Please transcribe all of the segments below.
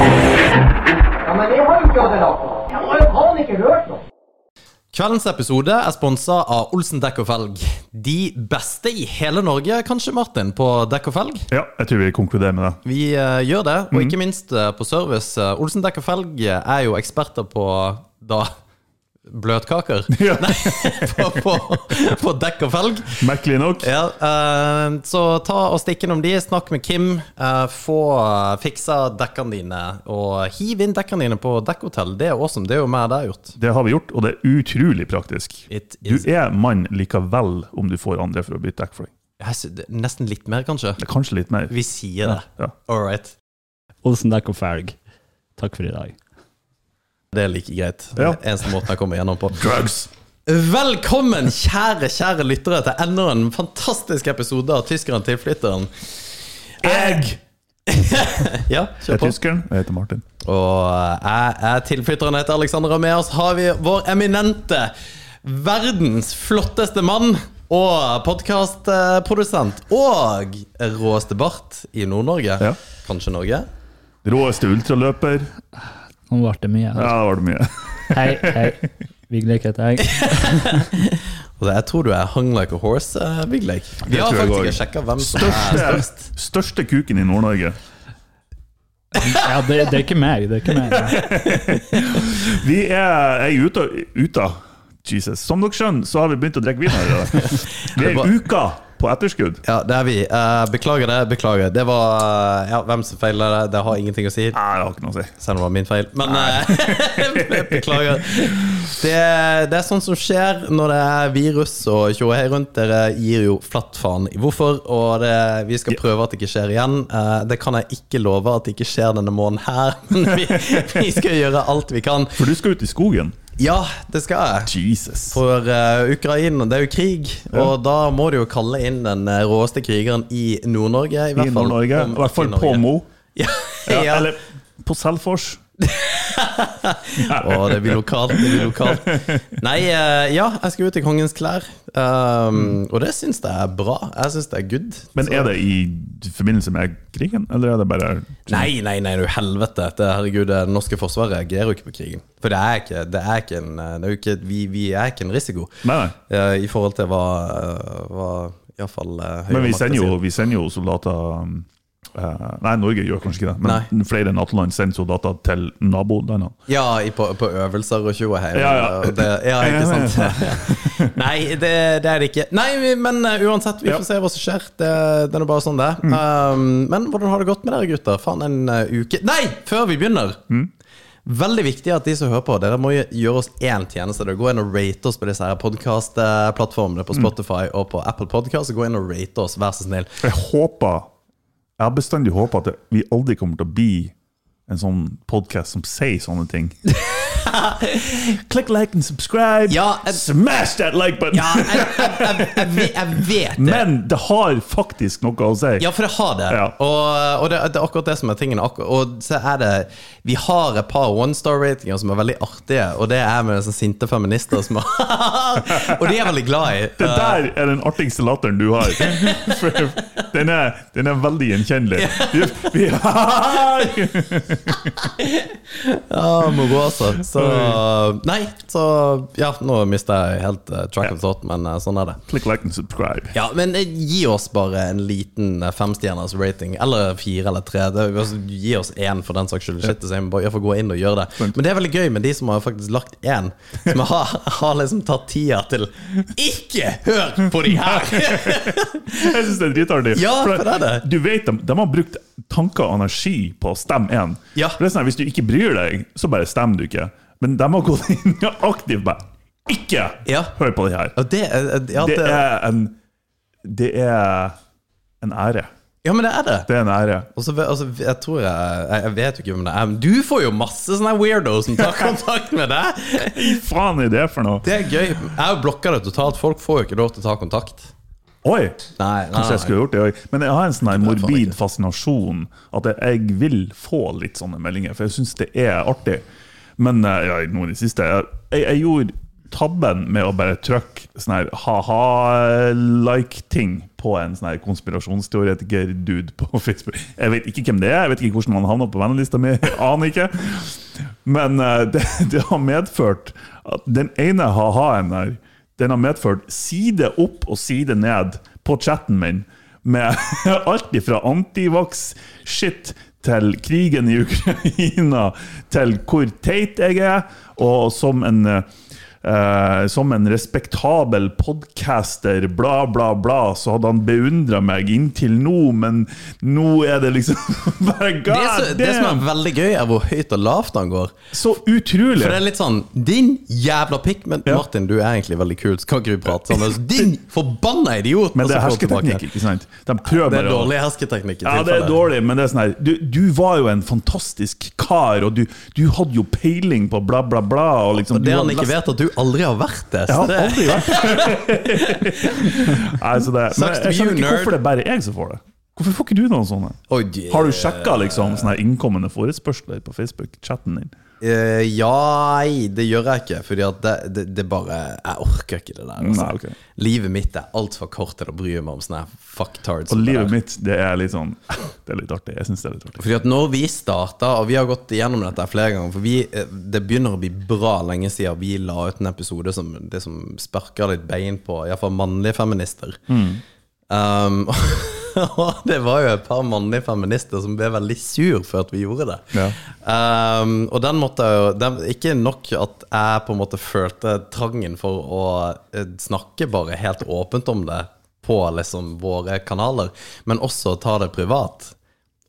Ja, men jeg har jo ikke hatt det nok. Jeg har jo faen ikke hørt noe. Kveldens episode er sponsa av Olsen dekk og felg. De beste i hele Norge, kanskje, Martin, på dekk og felg. Ja, jeg tror vi konkluderer med det. Vi eh, gjør det, og ikke minst eh, på service. Eh, Olsen dekk og felg eh, er jo eksperter på da bløtkaker. Ja. Nei, på, på, på dekk og felg. Merkelig nok. Ja, eh, så ta og stikk innom de, snakk med Kim. eh, få eh, fiksa dekkene dine, og hiv inn dekkene dine på dekkhotell. Det er awesome. Det er jo meg det har gjort. Det har vi gjort, og det er utrolig praktisk. It Du is- er mann likevel om du får andre for å bytte dekk for deg. Jeg sy- det- Nesten litt mer, kanskje. Det er Kanskje litt mer. Vi sier det. Ja. All right. Olsen Dekk og Felg. Takk for i dag. Det er like greit. Ja. Det er Eneste måten jeg kommer gjennom på. Drugs! Velkommen, kjære, kjære lyttere, til enda en fantastisk episode av Tyskeren tilflytteren. Egg! Ja, Jeg kjør er på. tyskeren, og jeg heter Martin. Og jeg er tilflytteren, jeg heter Alexander, og med oss har vi vår eminente, verdens flotteste mann og podkastprodusent og råeste bart i Nord-Norge. Ja. Kanskje Norge. Råeste ultraløper. Nå ble det mye. Ja, her. det var det mye. Hei, hei. Vigleik heter jeg. Og Jeg tror du er hung like a horse, eh, Big Lake. Vi Det har tror jeg faktisk går. ikke sjekka hvem som er størst. Største, største kuken i Nord-Norge. Ja, det, det er ikke meg. Det er ikke meg. Vi er ei uta, uta. Jesus. Som dere skjønner, så har vi begynt å drikke vin her i dag. Vi Det var- er uka på etterskudd. Ja, det er vi. Eh, beklager det. Beklager. Det var eh, Ja, hvem som feiler det, det har ingenting å si. Nei, det har ikke noe å si. Selv om det var min feil. Men eh, beklager. Det, det er sånt som skjer når det er virus og tjohei rundt. Dere gir jo flatt faen i hvorfor, og det, vi skal prøve at det ikke skjer igjen. Eh, det kan jeg ikke love at det ikke skjer denne måneden her, men vi, vi skal gjøre alt vi kan. For du skal ut i skogen. Ja, det skal jeg. Jesus. For eh, Ukraina, det er jo krig, og da må du jo kalle inn den eh, råeste krigeren i Nord-Norge. I, I hvert fall Nord-Norge. om- I hvert i fall på Norge. Mo. Ja, Ja, ja. Eller på Selfors. Å, det blir lokalt, det blir lokalt. Nei, eh, ja, jeg skal ut i kongens klær, um, og det syns jeg er bra. Jeg syns det er good. Mm. Men er det i forbindelse med krigen, eller er det bare Nei, nei, nei, du helvete. Det, herregud, det norske forsvaret reagerer jo ikke på krigen. For det er ikke, det er ikke en eh, det er jo ikke, vi, vi er ikke en risiko Nei, nei. eh, i forhold til hva, eh, hva iallfall høyre Men vi makter eh, sender sier. jo, vi sender jo soldater um, eh, Nei, Norge gjør kanskje ikke det, men Nei. flere NATO-land sender soldater til nabolandene. Ja, i, på, på øvelser og tjo og hei. Ja, ja. og Det, ja, ikke Ja, ja, sant? Nei, det, det er det ikke. Nei, vi- men eh, uansett, vi Ja. får se hva som skjer. Det, det er nå bare sånn det er. Um, men hvordan har det gått med dere gutter? Faen, en eh, uke Nei, før vi begynner! Veldig viktig at de som hører på, dere må jo gjøre oss én tjeneste. Dere Gå inn og rate oss på disse her podkastplattformene på Spotify og på Apple Podcast. Gå inn og rate oss, vær så snill. Jeg håper Jeg har bestandig håpa at det- vi aldri kommer til å bli en sånn podkast som sier sånne ting. Click like and subscribe. Ja, jeg- Smash that like button! Ja, jeg, jeg, jeg, jeg, vet- jeg vet det. Men det har faktisk noe å si. Ja, for det har det. Ja. Og, og det, det er akkurat det som er tingen. Akkur- og så er det Vi har et par one star-ratinger som er veldig artige, og det er med sånne sinte feminister som har Og de er jeg veldig glad i. Det der er den artigste latteren du har. For den, er, den er veldig gjenkjennelig. Vi, vi Ja, må gå, altså. Så Nei, så Ja, nå mista jeg helt eh, track of thought, men eh, sånn er det. Click like and subscribe. Ja, men eh, gi oss bare en liten eh, femstjerners rating, eller fire eller tre. Det, altså, gi oss én for den saks skyld. Shit, så jeg må bare jeg får gå inn og gjøre det. Men det er veldig gøy med de som har faktisk lagt én. Som har, har liksom tatt tida til Ikke hør på de her! Jeg syns det er dritartig. Ja, for det er det. Du vet, de, de har brukt tanker og energi på å stemme én. Ja. For det er sånn, at hvis du ikke bryr deg, så bare stemmer du ikke. Men de har gått inn aktivt med Ikke Ja. hør på det her! Og det, eh, eh, ja, Det det, er en Det er en ære. Ja, men det er det. Det er en ære. Og så ve- altså, jeg tror jeg, jeg jeg vet jo ikke om det er Men du får jo masse sånne weirdos som tar kontakt med deg! Hva faen er det for noe? Det er gøy. Jeg blokker det totalt. Folk får jo ikke lov til å ta kontakt. Oi! Nei, nei, Kanskje jeg skulle gjort det òg. Men jeg har en sånn her Det er faen morbid ikke. fascinasjon. At jeg vil få litt sånne meldinger, for jeg syns det er artig. Men eh, ja, noe av de siste jeg, jeg, jeg gjorde tabben med å bare trykke sånn her ha-ha-like-ting på en sånn her konspirasjonsteoretiker-dude på Facebook. Jeg vet ikke hvem det er, jeg vet ikke hvordan han havna på vennelista mi. jeg Aner ikke. Men eh, det, det har medført at den ene ha-ha-en der, den har medført side opp og side ned på chatten min, med alt ifra antivax-shit til krigen i Ukraina, til hvor teit jeg er, og som en eh, eh, som en respektabel podcaster, bla, bla, bla, så hadde han beundra meg inntil nå, men nå er det liksom bare God Det, som- det som damn! er veldig gøy, er hvor høyt og lavt han går. Så utrolig! For det er litt sånn Din jævla pikk, men Ja. Martin, du er egentlig veldig kul, skal ikke du prate sammen? Så, Din forbanna idiot! Men Og det så er går han tilbake. hersketeknikk, ikke sant? De prøver Det er å- dårlig hersketeknikk. i Ja, det er tilfelle. dårlig, men det er sånn her du, du var jo en fantastisk kar, og du, du hadde jo peiling på bla, bla, bla. Og liksom, Og det du han hadde ikke lest- vet, at du aldri har vært det. Jeg Så har det aldri vært Nei, så det. Men Sucks to jeg be you, skjønner ikke nerd. hvorfor det er bare jeg som får det. Hvorfor får ikke du noen sånne? Oi, de- Har du sjekka liksom, sånne her innkommende forespørsler på Facebook-chatten din? Eh, ja, nei, det gjør jeg ikke. Fordi at det, det, det bare Jeg orker ikke det der. Altså. Nei, ok. Livet mitt er altfor kort til å bry meg om sånne her fucktards. Og som det livet Sånn der. mitt, det er litt sånn Det er litt artig. Jeg syns det er litt artig. Fordi at når vi starta, og vi har gått igjennom dette flere ganger For vi, eh, det begynner å bli bra lenge siden vi la ut en episode som, det som sparker litt bein på iallfall mannlige feminister. Um, og det var jo et par mannlige feminister som ble veldig sur for at vi gjorde det. Ja. Um, og den måtte jeg jo den, Ikke nok at jeg på en måte følte trangen for å eh, snakke bare helt åpent om det på liksom våre kanaler, men også ta det privat.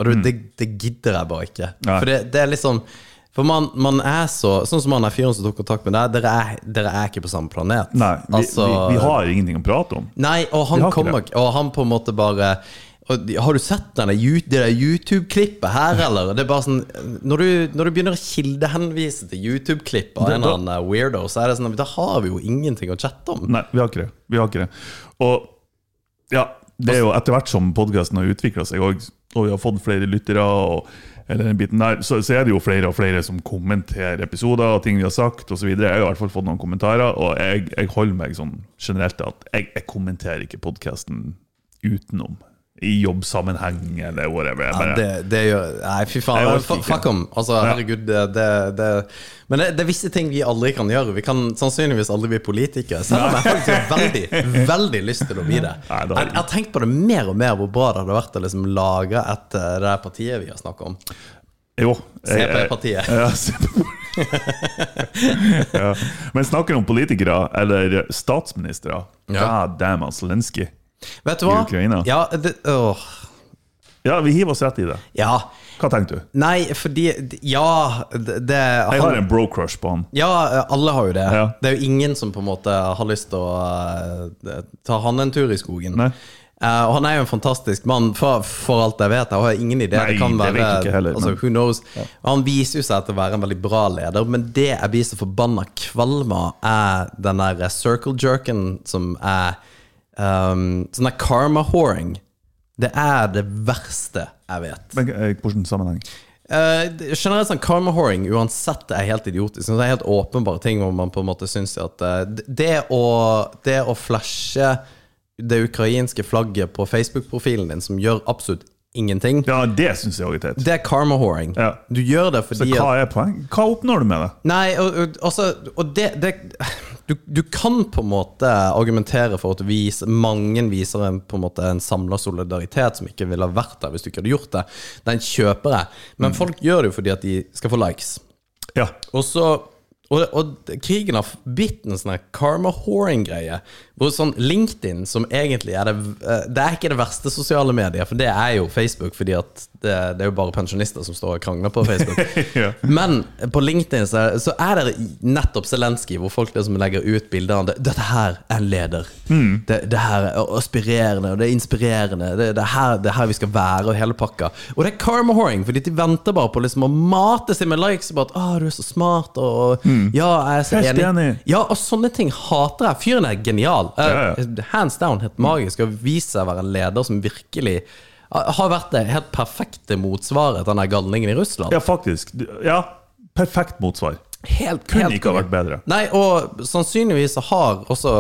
Og du, det, det gidder jeg bare ikke. Mm. Nei. For det, det er liksom For man, man er så Sånn som han der fyren som tok kontakt med deg, dere er, dere er ikke på samme planet. Nei, vi, Altså- vi, vi har ingenting å prate om. Nei, og han De har ikke kommer det. ikke Og han på en måte bare og, de- Har du sett denne, Yu- det der YouTube-klippet her, eller? Det er bare sånn Når du, når du begynner å kildehenvise til YouTube-klipp av en eller annen weirdo, så er det sånn at Da har vi jo ingenting å chatte om. Nei, vi har ikke det. Vi har ikke det. Og ja, det er jo etter hvert som podkasten har utvikla seg, og, og vi har fått flere lyttere, og, eller den biten der, så, så er det jo flere og flere som kommenterer episoder og ting vi har sagt osv. Jeg har i hvert fall fått noen kommentarer, og jeg, jeg holder meg sånn generelt til at jeg, jeg kommenterer ikke podkasten utenom. I jobbsammenheng eller whatever. Jeg Ja, bare, det, det gjør Nei, fy faen. Jeg men orker fa- ikke. Fuck om. Altså, herregud, det, det, det Men det, det er visse ting vi aldri kan gjøre. Vi kan sannsynligvis aldri bli politikere, selv om jeg faktisk har veldig, veldig lyst til å bli det. Nei, Jeg det har du jeg har tenkt på det mer og mer hvor bra det hadde vært å liksom lage et eh, det der partiet vi har snakket om. Jo. jeg- CP-partiet. jeg- Ja, CP. ja. Men snakker om politikere eller statsministre Ja. God damn, altså, Zelenskyj. Vet du hva? I Ukraina. Ja, det, åh, Ja, vi hiver oss rett i det. ja. Hva tenker du? Nei, fordi Ja, det, det Jeg har han, en bro-crush på han. Ja, alle har jo det. Ja. Det er jo ingen som på en måte har lyst til å eh, ta han en tur i skogen. Nei. Eh, og han er jo en fantastisk mann, for, for alt jeg vet. Jeg har ingen idé. Nei, det vet jeg ikke heller, altså, men- who knows? Og Han viser jo seg til å være en veldig bra leder, men det jeg blir så forbanna kvalm av, er den der eh, circle jerken som er um, Sånn der karma-whoring. Det er det verste jeg vet. Men eh, Hvordan sammenheng? Eh, det- generelt sånn karma-horing uansett er helt idiotisk. Det er helt åpenbare ting hvor man på en måte syns at eh, d- det å, det å flashe det ukrainske flagget på Facebook-profilen din, som gjør absolutt ingenting, Ja, det syns jeg òg er teit. det er karma-horing. Ja. Du gjør det Så fordi at hva er poeng? Hva oppnår du med det? Nei, og, og, altså, og det, det du, du kan på en måte argumentere for at vis, mange viser en, på en, måte en samla solidaritet som ikke ville ha vært der hvis du ikke hadde gjort det. Den kjøper jeg. Mm. Men folk gjør det jo fordi at de skal få likes. Ja. Og så og, og krigen har bitt en sånn her karma-horing-greie. hvor Og sånn LinkedIn, som egentlig er det eh, Det er ikke det verste sosiale mediet, for det er jo Facebook, fordi at det, det er jo bare pensjonister som står og krangler på Facebook. Ja. Men på LinkedIn så, er- så er det nettopp Zelenskyj, hvor folk liksom legger ut bilder av det. 'Dette her er en leder'. Mm. Det, 'Det her er aspirerende, og det er inspirerende'. Det, det, er her, 'Det er her vi skal være', og hele pakka. Og det er karma horing, fordi de venter bare på liksom å mate seg med likes. Og bare at 'Å, du er så smart', og 'Ja, jeg er så Mm. Helt enig'. enig. Ja, og sånne ting hater jeg. Fyren er genial. Eh, Ja, Hands down, helt magisk. Og viser seg å være en leder som virkelig eh, har vært det helt perfekte motsvaret til den der galningen i Russland. Ja, faktisk. Du- Ja, perfekt motsvar. Helt, Kunne helt- ikke ha vært bedre. Nei, og sannsynligvis har også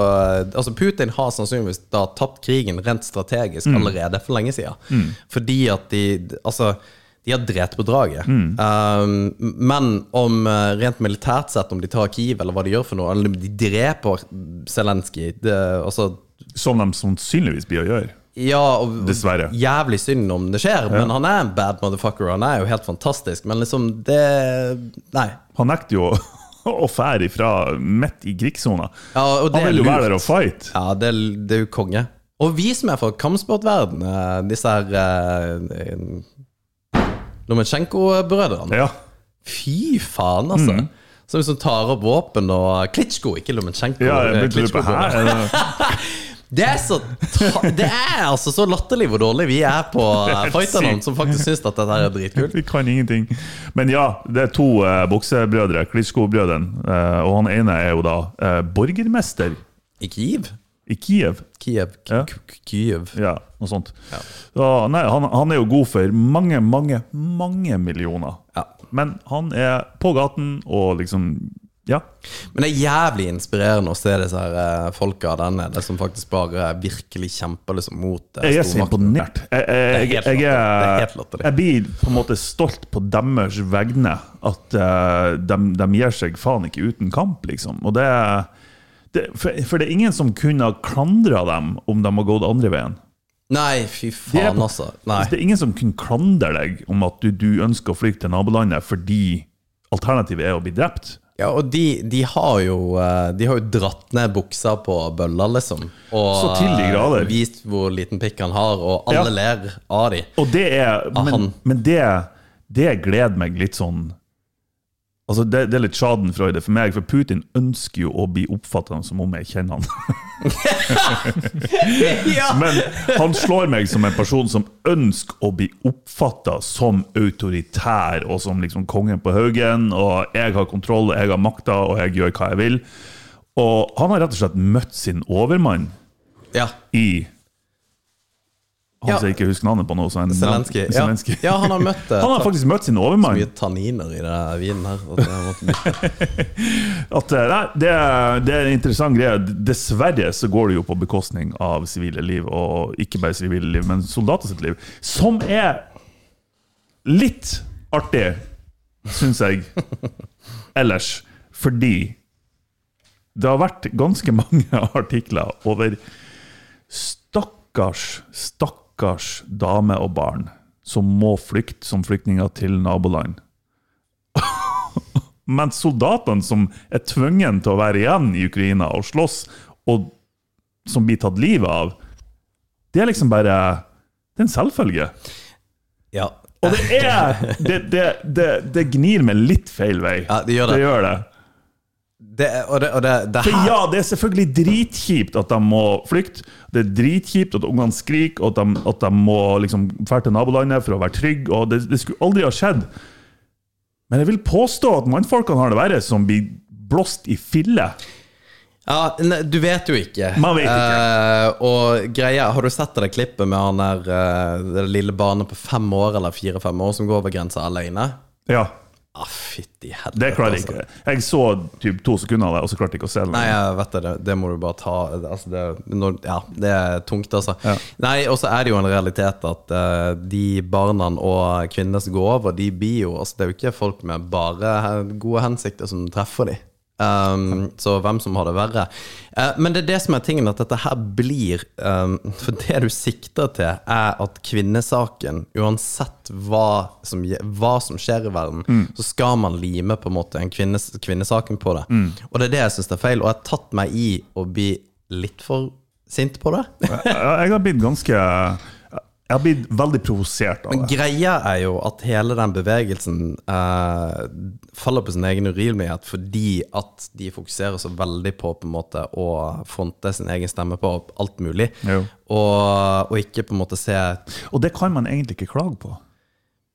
Altså Putin har sannsynligvis da tapt krigen rent strategisk Mm. allerede for lenge siden. Fordi at de Altså, de har drept på draget. Mm. Um, men om eh, rent militært sett, om de tar Kiev eller hva de gjør for noe, eller om de dreper Zelenskyj det- Altså Som de sannsynligvis blir å gjøre. ja, og Dessverre. jævlig synd om det skjer, men han er en bad motherfucker. og Han er jo helt fantastisk, men liksom det Nei. Han nekter jo å- å fære ifra midt i krigssona. Ja, og det Han er vil jo lurt. være der og fight. Ja, det, er- det er jo konge. Og vi som er fra kampsportverden, eh, disse her eh, Lomentsjenko-brødrene. Ja. Mm. Fy faen, altså. Som liksom tar opp våpen og Klitsjko, ikke Lomentsjenko. Ja, eh, jeg begynte å lure på Klitschko-brødre. her. er det- Det er, så ta det er altså så latterlig hvor dårlig vi er på eh, helt fighternavn, sykt. som faktisk syns at dette her er dritkult. Vi kan ingenting. Men ja, det er to eh, boksebrødre, Klitsjko-brødrene. eh, og han ene er jo da eh, borgermester I Kiev? i Kiev. Kiev. K Ja. K Kiev. Ja, noe sånt. Så, nei, han, han er jo god for mange, mange, mange millioner. Ja. Men han er på gaten og liksom Ja. Men det er jævlig inspirerende å se disse her eh, folka der nede som faktisk bare virkelig kjemper liksom mot eh, Jeg er så stormakten. imponert. Det Jeg, jeg, er helt jeg, jeg, latterlig. Det er helt latterlig. jeg blir på en måte stolt på deres vegne. At eh, de, de gir seg faen ikke uten kamp, liksom. Og det, det, for, for det er ingen som kunne ha klandra dem om de har gått andre veien. Nei, fy Det er faen, på- altså. Nei. Det er ingen som kunne klandre deg om at du, du ønsker å flykte til nabolandet fordi alternativet er å bli drept. Ja, og de, de, har jo, eh, de har jo dratt ned buksa på bølla, liksom. Og Så til de grader. eh, vist hvor liten pikk han har, og alle Ja. ler av de. Og det er Men, han. men det, det gleder meg litt sånn Altså det, det er litt schadenfreude for meg, for Putin ønsker jo å bli oppfatta som om jeg kjenner han. Ja. Men han slår meg som en person som ønsker å bli oppfatta som autoritær, og som liksom kongen på haugen, og jeg har kontroll, og jeg har makta, og jeg gjør hva jeg vil. Og han har rett og slett møtt sin overmann ja. i Han Ja. som jeg ikke husker navnet på nå. så en- Zelenskyj. Ja. Zelenskyj. ja, han har møtt eh, Han har faktisk møtt sin så overmann. mye tanniner i den vinen her. At jeg måtte bytte. At, eh, nei, det, er- det er en interessant greie. Dessverre så går det jo på bekostning av sivile liv, og ikke bare sivile liv, men soldater sitt liv. Som er litt artig, syns jeg, ellers. Fordi det har vært ganske mange artikler over stakkars, stakkars dame og barn som må flykte som flyktninger til naboland. Men soldatene som er tvungen til å være igjen i Ukraina og slåss, og som blir tatt livet av, det er liksom bare Det er en selvfølge. ja. Og det er Det, det, det, det gnir meg litt feil vei. Ja, det gjør det. det, gjør det. Det, og det, og det, det For her ja, det er selvfølgelig dritkjipt at de må flykte. Det er dritkjipt at ungene skriker, og at de, at de må liksom fære til nabolandet for å være trygge. Og det, det skulle aldri ha skjedd. Men jeg vil påstå at mannfolkene har det verre, som blir blåst i fille. Ja, ne, Du vet jo ikke. Man vet ikke. Eh, og greia, Har du sett det der klippet med han der eh, det lille barnet på fem år eller fire-fem år som går over grensa alene? Ja, Ah, Fytti helvete. det klarte jeg altså. ikke. Jeg så typ to sekunder av det, og så klarte jeg ikke å se det. Nei, jeg vet det, det må du bare ta altså det, når, Ja, det er tungt, altså. Nei, og så er det jo en realitet at eh, de barna og kvinnene som går over, de blir jo altså Det er jo ikke folk med bare he- gode hensikter som treffer de. Um, så hvem som har det verre. Eh, men det er det som er tingen, at dette her blir um, For det du sikter til, er at kvinnesaken, uansett hva som, gje- hva som skjer i verden, så skal man lime på en måte en kvinnes, kvinnesaken på det. Og det er det jeg syns er feil, og jeg har tatt meg i å bli litt for sint på det. Jeg jeg har blitt ganske Jeg har blitt veldig provosert av Men det. greia er jo at hele den bevegelsen eh, faller på sin egen urimelighet fordi at de fokuserer så veldig på på en måte å fronte sin egen stemme på alt mulig, Jo. og, og ikke på en måte se Og det kan man egentlig ikke klage på.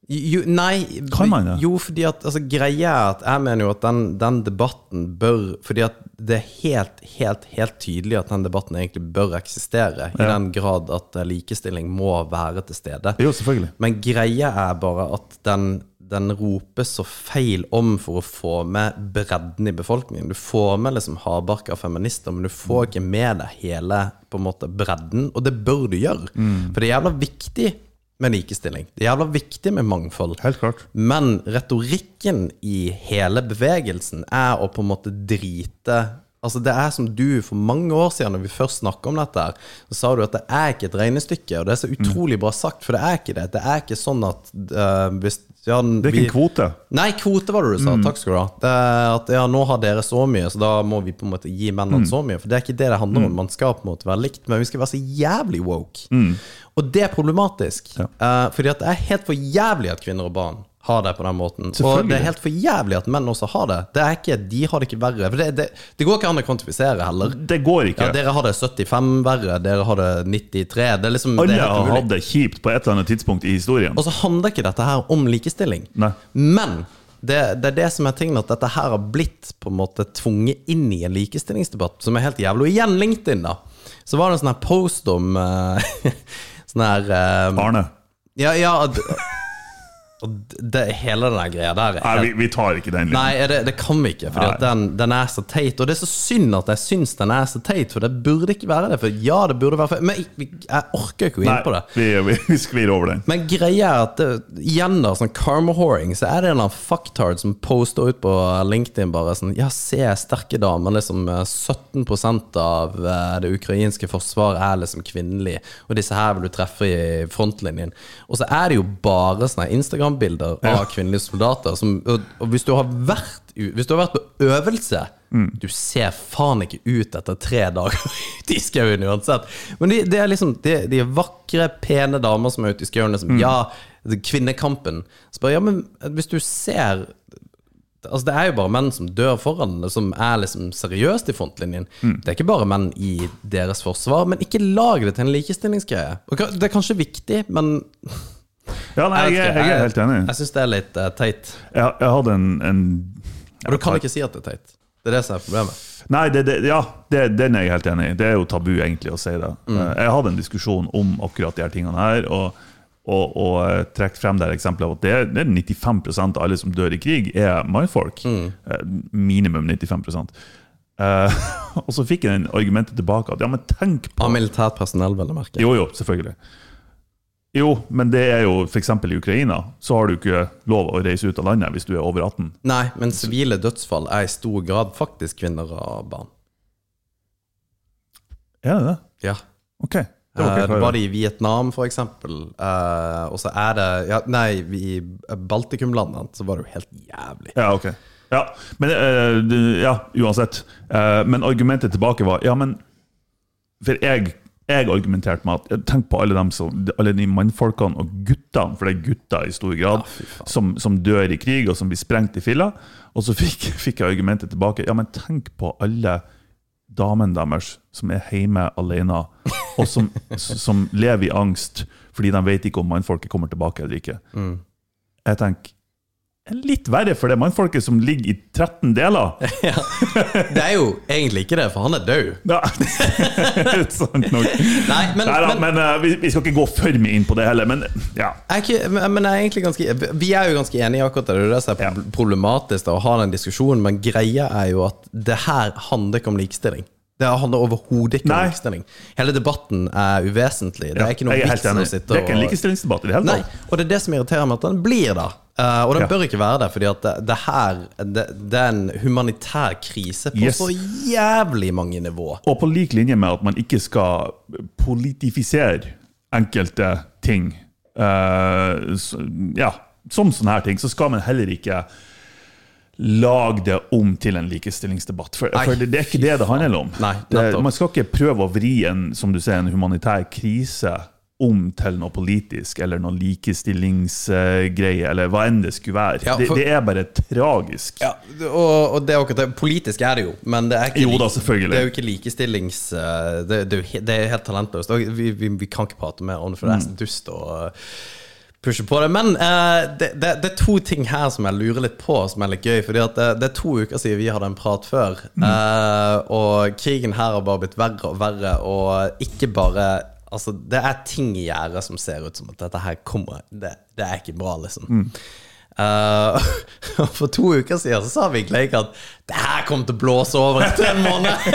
jo, Nei, Kan man det? jo, fordi at altså, greia er at jeg mener jo at den, den debatten bør Fordi at det er helt, helt, helt tydelig at den debatten egentlig bør eksistere, i den grad at eh, likestilling må være til stede. Jo, selvfølgelig. Men greia er bare at den, den ropes så feil om for å få med bredden i befolkningen. Du får med liksom hardbarka feminister, men du Mm. får ikke med deg hele på en måte, bredden. Og det bør du gjøre. Mm. For det er jævla viktig med likestilling. Det er jævla viktig med mangfold. Helt klart. Men retorikken i hele bevegelsen er å på en måte drite Altså Det er som du for mange år siden, når vi først snakket om dette, her, så sa du at det er ikke et regnestykke. Og det er så utrolig bra sagt, for det er ikke det. Det er ikke sånn at eh, hvis ja, Det er ikke en kvote. Nei, kvote var det du sa. Mm. Takk skal du ha. Det er at ja, nå har dere så mye, så da må vi på en måte gi mennene Mm. så mye. For det er ikke det det handler om. Man skal på en måte være likt, men vi skal være så jævlig woke. Mm. Og det er problematisk. Eh, fordi at det er helt for jævlig at kvinner og barn har det på den måten. Og Selvfølgelig. det er helt for jævlig at menn også har det. det er ikke, de har det ikke verre. For det, det, det går ikke an å kvantifisere heller. Det går ikke. Ja, dere har det 75 verre, dere har det 93 Det er liksom det Alle er helt har umulig. hatt det kjipt på et eller annet tidspunkt i historien. Og så handler ikke dette her om likestilling. Nei. Men det, det er det som er tingen, at dette her har blitt på en måte tvunget inn i en likestillingsdebatt som er helt jævlig. Og igjen LinkedIn, da! Så var det en sånn her post om eh, Sånn her eh, Arne, Ja, ja og, og det, hele den der greia der nei, er vi, vi tar ikke den. linjen. Nei, det, det kan vi ikke, for den, den er så teit. Og det er så synd at jeg syns den er så teit, for det burde ikke være det. For ja, det burde være for, Men jeg, jeg orker ikke å gå inn på det. vi, vi, vi sklir over den. Men greia er at det, igjen da, sånn karma-whoring, så er det en eller annen fucktard som poster ut på LinkedIn bare sånn Ja, se sterke damer, liksom eh, 17 av eh, det ukrainske forsvaret er liksom kvinnelig, og disse her vil du treffe i frontlinjen. Og så er det jo bare sånne Instagram-bilder av kvinnelige soldater som og, og hvis du har vært u- hvis du har vært på øvelse Mm. Du ser faen ikke ut etter tre dager ute i skauen uansett. Men de, det er liksom de, de er vakre, pene damer som er ute i skauen. Mm. Liksom, Ja, kvinnekampen. Spør, ja, men hvis du ser Altså Det er jo bare menn som dør foran, det, som er liksom seriøst i frontlinjen. Mm. Det er ikke bare menn i deres forsvar. Men ikke lag det til en likestillingsgreie. Og ka- Det er kanskje viktig, men Ja, nei, jeg, jeg, er helt enig. Jeg syns det er litt eh, teit. Jeg, jeg hadde en, en Og du kan ikke si at det er teit. Det er det som er problemet. Nei, det, det, ja, det, den er jeg helt enig i. Det er jo tabu egentlig å si det. Eh, Jeg hadde en diskusjon om akkurat de her tingene her, og, og, og eh, trekt frem det her eksempelet av at det, er- det er 95 av alle som dør i krig, er mannfolk. Eh, Minimum 95 Eh, Og så fikk jeg den argumentet tilbake at ja, men tenk på Av militært personell, vel å merke. Jo, jo, selvfølgelig. Jo, men det er jo f.eks. i Ukraina, så har du ikke lov å reise ut av landet hvis du er over 18. Nei, men sivile dødsfall er i stor grad faktisk kvinner og barn. Er det det? Ja. OK. Det var ikke Eh, jeg Det klar var over. det i Vietnam, for eksempel. Eh, og så er det ja, Nei, i Baltikum-landene så var det jo helt jævlig. Ja, ok. Ja, men, eh, du- ja uansett. Eh, men argumentet tilbake var Ja, men For jeg, jeg argumenterte med at Tenk på alle, dem som, alle de mannfolkene og guttene, for det er gutter i stor grad, som, som dør i krig og som blir sprengt i filler. Og så fikk, fikk jeg argumentet tilbake. Ja, men tenk på alle damene deres som er hjemme alene, og som, som lever i angst fordi de vet ikke om mannfolket kommer tilbake eller ikke. Jeg tenker er litt verre for det mannfolket som ligger i 13 deler. Det er jo egentlig ikke det, for han er død. Ja. Sant nok. Nei, men, Neida, men, men eh, vi, vi skal ikke gå for mye inn på det heller, men ja. jeg er ikke, men men jeg er egentlig ganske Vi er jo ganske enige i akkurat det. Det er jo det som er prob- problematisk, da, å ha den diskusjonen, men greia er jo at det her handler ikke om likestilling. Det her handler overhodet ikke Nei. om likestilling. Hele debatten er uvesentlig. Det er ikke noe jeg er helt vits i enig. å sitte og Det er ikke en likestillingsdebatt i det hele Nei, tatt. og det er det som irriterer meg, at den blir det. Eh, og den Ja. bør ikke være det, fordi at det, det her det, det er en humanitær krise på Yes. så jævlig mange nivå. Og på lik linje med at man ikke skal politifisere enkelte ting, eh, s- ja, som sånne her ting, så skal man heller ikke Lag det om til en likestillingsdebatt. For, Nei, for det, det er ikke det det handler om. Nei, det, nettopp. man skal ikke prøve å vri en, som du sier, en humanitær krise om til noe politisk eller noe likestillingsgreie, eller hva enn det skulle være. Ja, for- det, det er bare tragisk. Ja, og, og det er akkurat det. Politisk er det jo, men det er ikke, Jo da, lik- selvfølgelig. Det er jo ikke likestillings... eh, Det, det, er jo he- det er helt talentløst. Og vi, vi, vi kan ikke prate mer om det, for det er så dust å eh, pushe på det. Men eh, det, det, det er to ting her som jeg lurer litt på, som er litt gøy. Fordi at det, det er to uker siden vi hadde en prat før, eh, og krigen her har bare blitt verre og verre, og ikke bare Altså, det er ting i gjerdet som ser ut som at dette her kommer Det, det er ikke bra, liksom. Eh, og for to uker siden så sa Vigleik at det her kom til å blåse over etter en måned.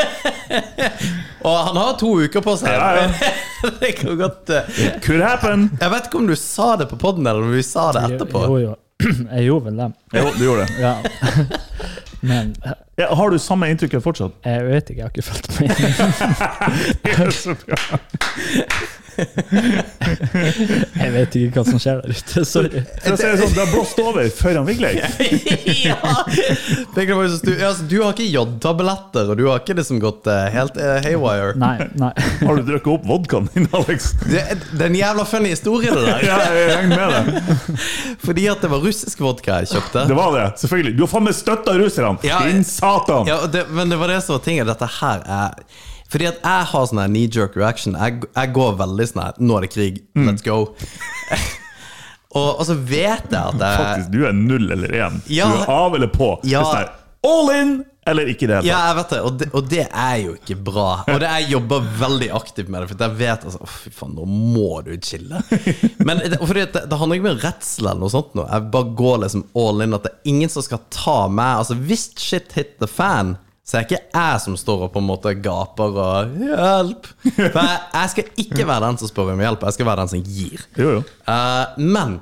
og han har to uker på seg. Ja, det kan godt eh, Could happen! Jeg vet ikke om du sa det på poden, eller om vi sa det etterpå. Jo, jo. Jeg gjorde vel det. Jo, du gjorde det. Ja. Men eh, Ja, har du samme inntrykket fortsatt? jeg vet ikke, jeg har ikke fulgt med. Så bra. Jeg vet ikke hva som skjer der ute. Sorry. For å si det sånn, det har blåst over før han fikk lek. ja. Det kan faktisk- du, altså, du har ikke jodda-billetter, og du har ikke liksom gått eh, helt eh, haywire. Nei, nei. Har du drukket opp vodkaen din, Alex? Det, det er en jævla funny historie, det der. Ja, jeg henger med deg. Fordi at det var russisk vodka jeg kjøpte. Det var det, selvfølgelig. Du har faen meg støtta russerne! Ja, jeg- Din satan! Ja, og det, men det var det som var tingen. Dette her er Fordi at jeg har sånn her knee-jerk reaction. Jeg, jeg går veldig sånn her Nå er det krig. Mm. Let's go. og, og så vet jeg at jeg Faktisk, du er null eller én. Ja. Du er av eller på. Ja. Det er sånn her, all in eller ikke i det hele ja, tatt. jeg vet det, og det, og det er jo ikke bra. Og det, jeg jobber veldig aktivt med det, for jeg vet altså, «Å, fy faen, nå må du chille. Men det, fordi at det, det handler ikke om redsel eller noe sånt. Nå. Jeg bare går liksom all in, at det er ingen som skal ta meg. Altså, Hvis shit hit the fan, så er det ikke jeg som står og på en måte gaper og 'hjelp'. For jeg, jeg skal ikke være den som spør om hjelp, jeg skal være den som gir. Jo, jo. Eh, men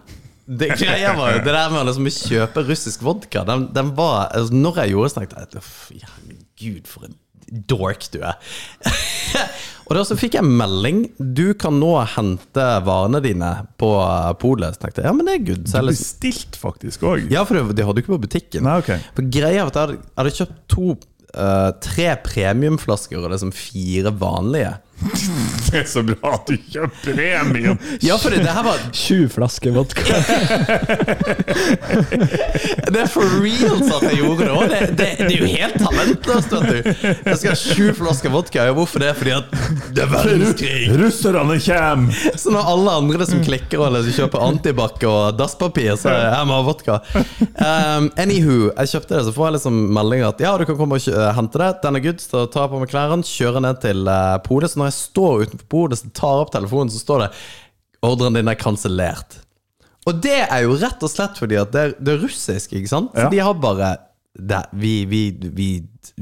det greia var jo det der med å liksom kjøpe russisk vodka. Den, den var, altså, når jeg gjorde det, så tenkte jeg «Uff, Herregud, for en dork du er. og da så fikk jeg melding. Du kan nå hente varene dine på eh, polet. Så tenkte jeg ja, men det er good. Så jeg liksom, Bestilt faktisk òg. ja, for det, de hadde jo ikke på butikken. Nei, ok. For greia var at jeg hadde, jeg hadde kjøpt to eh, tre premiumflasker og liksom fire vanlige. Det er så bra at du kjøper premium! Ja, for det her var 20 flasker vodka. Det er for reals at jeg gjorde det òg. Det, det, det er jo helt talentløst, vet du. Jeg skal ha sju flasker vodka. og Hvorfor det? Fordi at det er verdenskrig. Russerne kommer! Så når alle andre som klikker eller som kjøper antibac og dasspapir, så er jeg med vodka. Um, anywho, jeg kjøpte det, så får jeg liksom melding at ja, du kan komme og kjø- hente det. Den er good. Så tar jeg på meg klærne, kjører ned til uh, polet. Så når jeg står utenfor polet og tar jeg opp telefonen, så står det ordren din er kansellert. Og det er jo rett og slett fordi at det er, det er russisk, ikke sant? Så Ja. de har bare det, vi, vi, vi,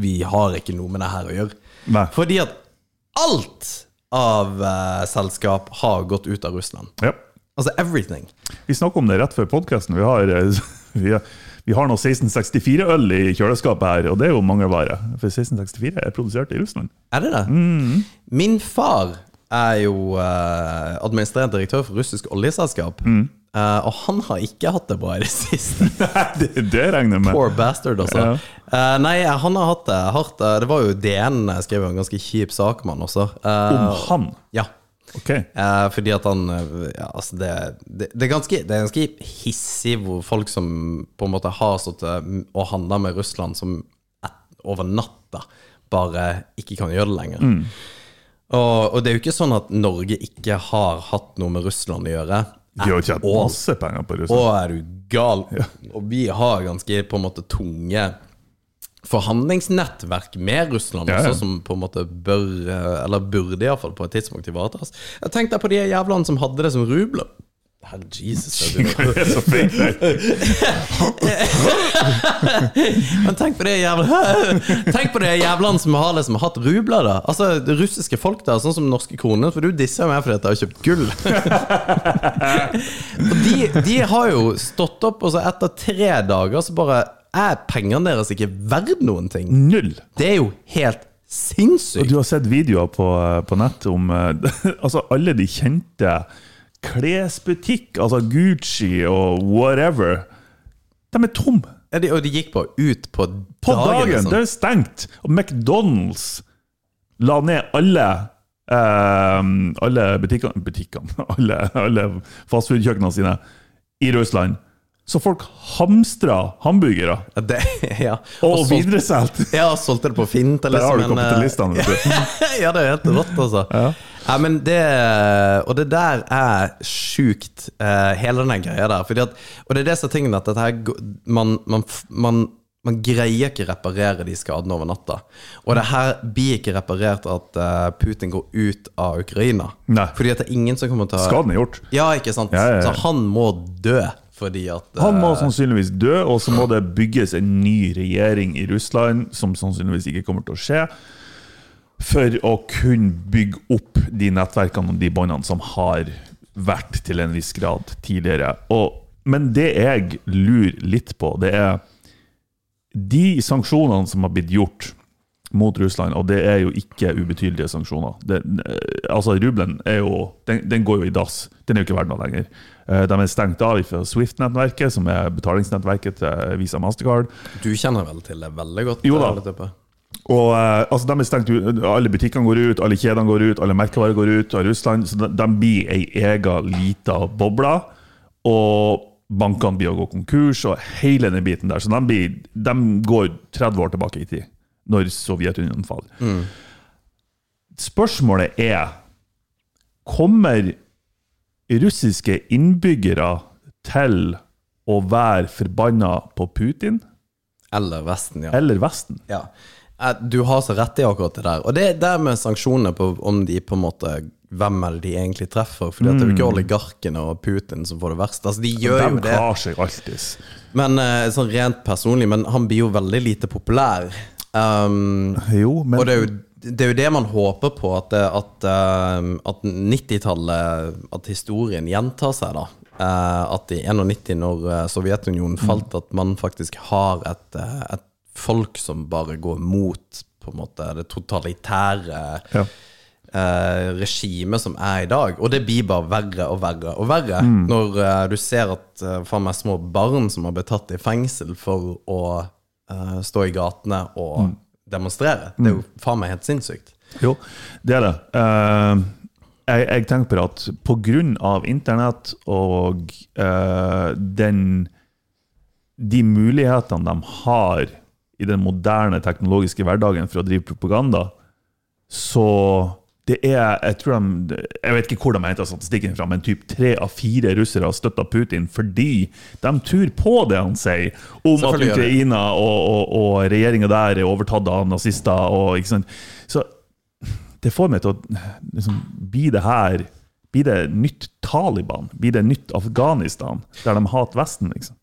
vi har ikke noe med det her å gjøre. Nei. Fordi at alt av eh, selskap har gått ut av Russland. Ja. Altså everything. Vi snakket om det rett før podkasten. Vi har, eh, vi har, vi har nå 1664-øl i kjøleskapet her, og det er jo mangelvare. For 1664 er produsert i Russland. Er det det? Mm. Min far er jo eh, administrerende direktør for russisk oljeselskap. Mm. Eh, og han har ikke hatt det bra i det siste. Nei, det, det regner jeg med. Poor bastard, altså. Ja. Eh, nei, han har hatt det hardt. Eh, Det var jo DN skrev jo en ganske kjip sak om han også. Eh, Om han. ja. Ok. Eh, fordi at han eh, ja, altså det, det, det, er ganske, det er ganske hissig hvor folk som på en måte har stått eh, og handla med Russland, som et, over natta bare ikke kan gjøre det lenger. Og, og det er jo ikke sånn at Norge ikke har hatt noe med Russland å gjøre. De har jo tjent Og- masse penger på Å, Russland. er du gal? Og vi har ganske på en måte tunge forhandlingsnettverk med Russland Ja, ja. også, som på en måte bør, eh, eller burde iallfall på et tidspunkt ivaretas. Jeg tenkte på de jævlene som hadde det som rubler. Herre Jesus, det er Det er så fint. nei. Men tenk på det jævla Tenk på det jævlene som har liksom hatt rubler, da. Altså det russiske folk, da, sånn som norske kroner. For du disser meg fordi at jeg har kjøpt gull. og de, de har jo stått opp, og så etter tre dager så bare er pengene deres ikke verdt noen ting. Null. Det er jo helt Og du sinnssykt. har sett videoer på, på nett om eh, altså alle de kjente klesbutikk, altså Gucci og whatever, de er tomme. Ja, de, og de gikk bare ut på, På dagen! liksom. Det er stengt! Og McDonald's la ned alle eh, alle butikkene butikkene, alle, alle fastfood-kjøkkenene sine i Russland. Så folk hamstra hamburgere Ja, det, ja. og solgte- videresolgte. Ja, og solgte det på Fint. eller Der har du liksom, men, eh, kapitalistene. vet du. ja, det er helt rått, altså. Ja. men det, og det der er sjukt, eh, hele den greia der. Fordi at, og det er det som er tingen, at dette her, gå- man, man, f- man, man greier ikke reparere de skadene over natta. Og det her blir ikke reparert at eh, Putin går ut av Ukraina. Nei. Fordi at det er ingen som kommer til å Skaden er gjort. Ja, ikke sant? Ja, ja, ja. Så han må dø fordi at eh, Han må sannsynligvis dø, og så må det bygges en ny regjering i Russland, som sannsynligvis ikke kommer til å skje, for å kunne bygge opp de nettverkene og de båndene som har vært til en viss grad tidligere. Og, men det jeg lurer litt på, det er de sanksjonene som har blitt gjort mot Russland, og det er jo ikke ubetydelige sanksjoner. Det, eh, altså, rubelen er jo den, den går jo i dass. Den er jo ikke verdt noe lenger. Eh, De er stengt av fra Swift-nettverket, som er betalingsnettverket til Visa Mastercard. eh, Du kjenner vel til det veldig godt? Jo da. vil jeg tippe. Og eh, altså, de er stengt ut. Alle butikkene går ut, alle kjedene går ut, alle merkevarer går ut av Russland. Så de, de blir ei ega lita boble. Og bankene blir å gå konkurs, og hele den biten der. Så de, blir, de går 30 år tilbake i tid, når Sovjetunionen faller. Mm. Spørsmålet er Kommer russiske innbyggere til å være forbanna på Putin Eller Vesten, ja. eller Vesten? Ja. Eh, Du har så rett i akkurat det der. Og det er der med sanksjoner på om de på en måte hvem er det de egentlig treffer? Fordi at det er jo ikke oligarkene og Putin som får det verst. Altså, de gjør De jo det, klarer seg alltids. men eh, sånn rent personlig. Men han blir jo veldig lite populær. Um, Jo, men og det er jo det er jo det man håper på, at, det- at, eh, at 90-tallet At historien gjentar seg, da. Eh, At i 91, når eh, Sovjetunionen falt, at man faktisk har et, eh, et folk som bare går mot på en måte det totalitære Ja. eh, regimet som er i dag. Og det blir bare verre og verre og verre. Mm. Når eh, du ser at eh, faen meg små barn som har blitt tatt i fengsel for å eh, stå i gatene og Mm. demonstrere. Det er jo faen meg helt sinnssykt. Jo, det er det. Eh, jeg, jeg tenker på det at på grunn av internett og eh, den De mulighetene de har i den moderne teknologiske hverdagen for å drive propaganda, så det er Jeg tror de, jeg vet ikke hvor de henter statistikken fra, men typ tre av fire russere støtter Putin fordi de tror på det han sier om at Selvfølgelig gjør de. Ukraina og, og, og regjeringa der er overtatt av nazister. Og, ikke sant? Så det får meg til å liksom, Blir det her Blir det nytt Taliban? Blir det nytt Afghanistan, der de hater Vesten? liksom?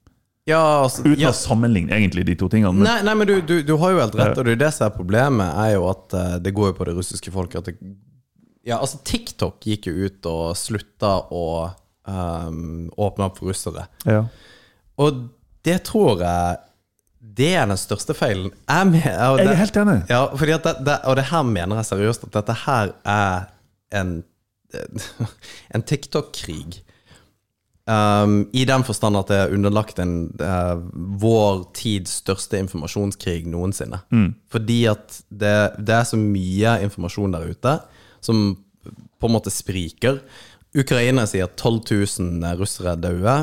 Ja, altså, Uten ja. å sammenligne egentlig de to tingene. Men Nei, nei, men du, du, du har jo helt rett, og det er jo det som er problemet, er jo at eh, det går jo på det russiske folket at det, Ja, altså, TikTok gikk jo ut og slutta å um, åpne opp for russere. ja. Og det tror jeg Det er den største feilen. Jeg, mener, og jeg det- er helt enig. ja, fordi at det, det, og det her mener jeg seriøst, at dette her er en, en TikTok-krig. Um, I den forstand at det er underlagt en, eh, vår tids største informasjonskrig noensinne. Fordi at det, det er så mye informasjon der ute som på en måte spriker. Ukraina sier 12 000 russere er døde.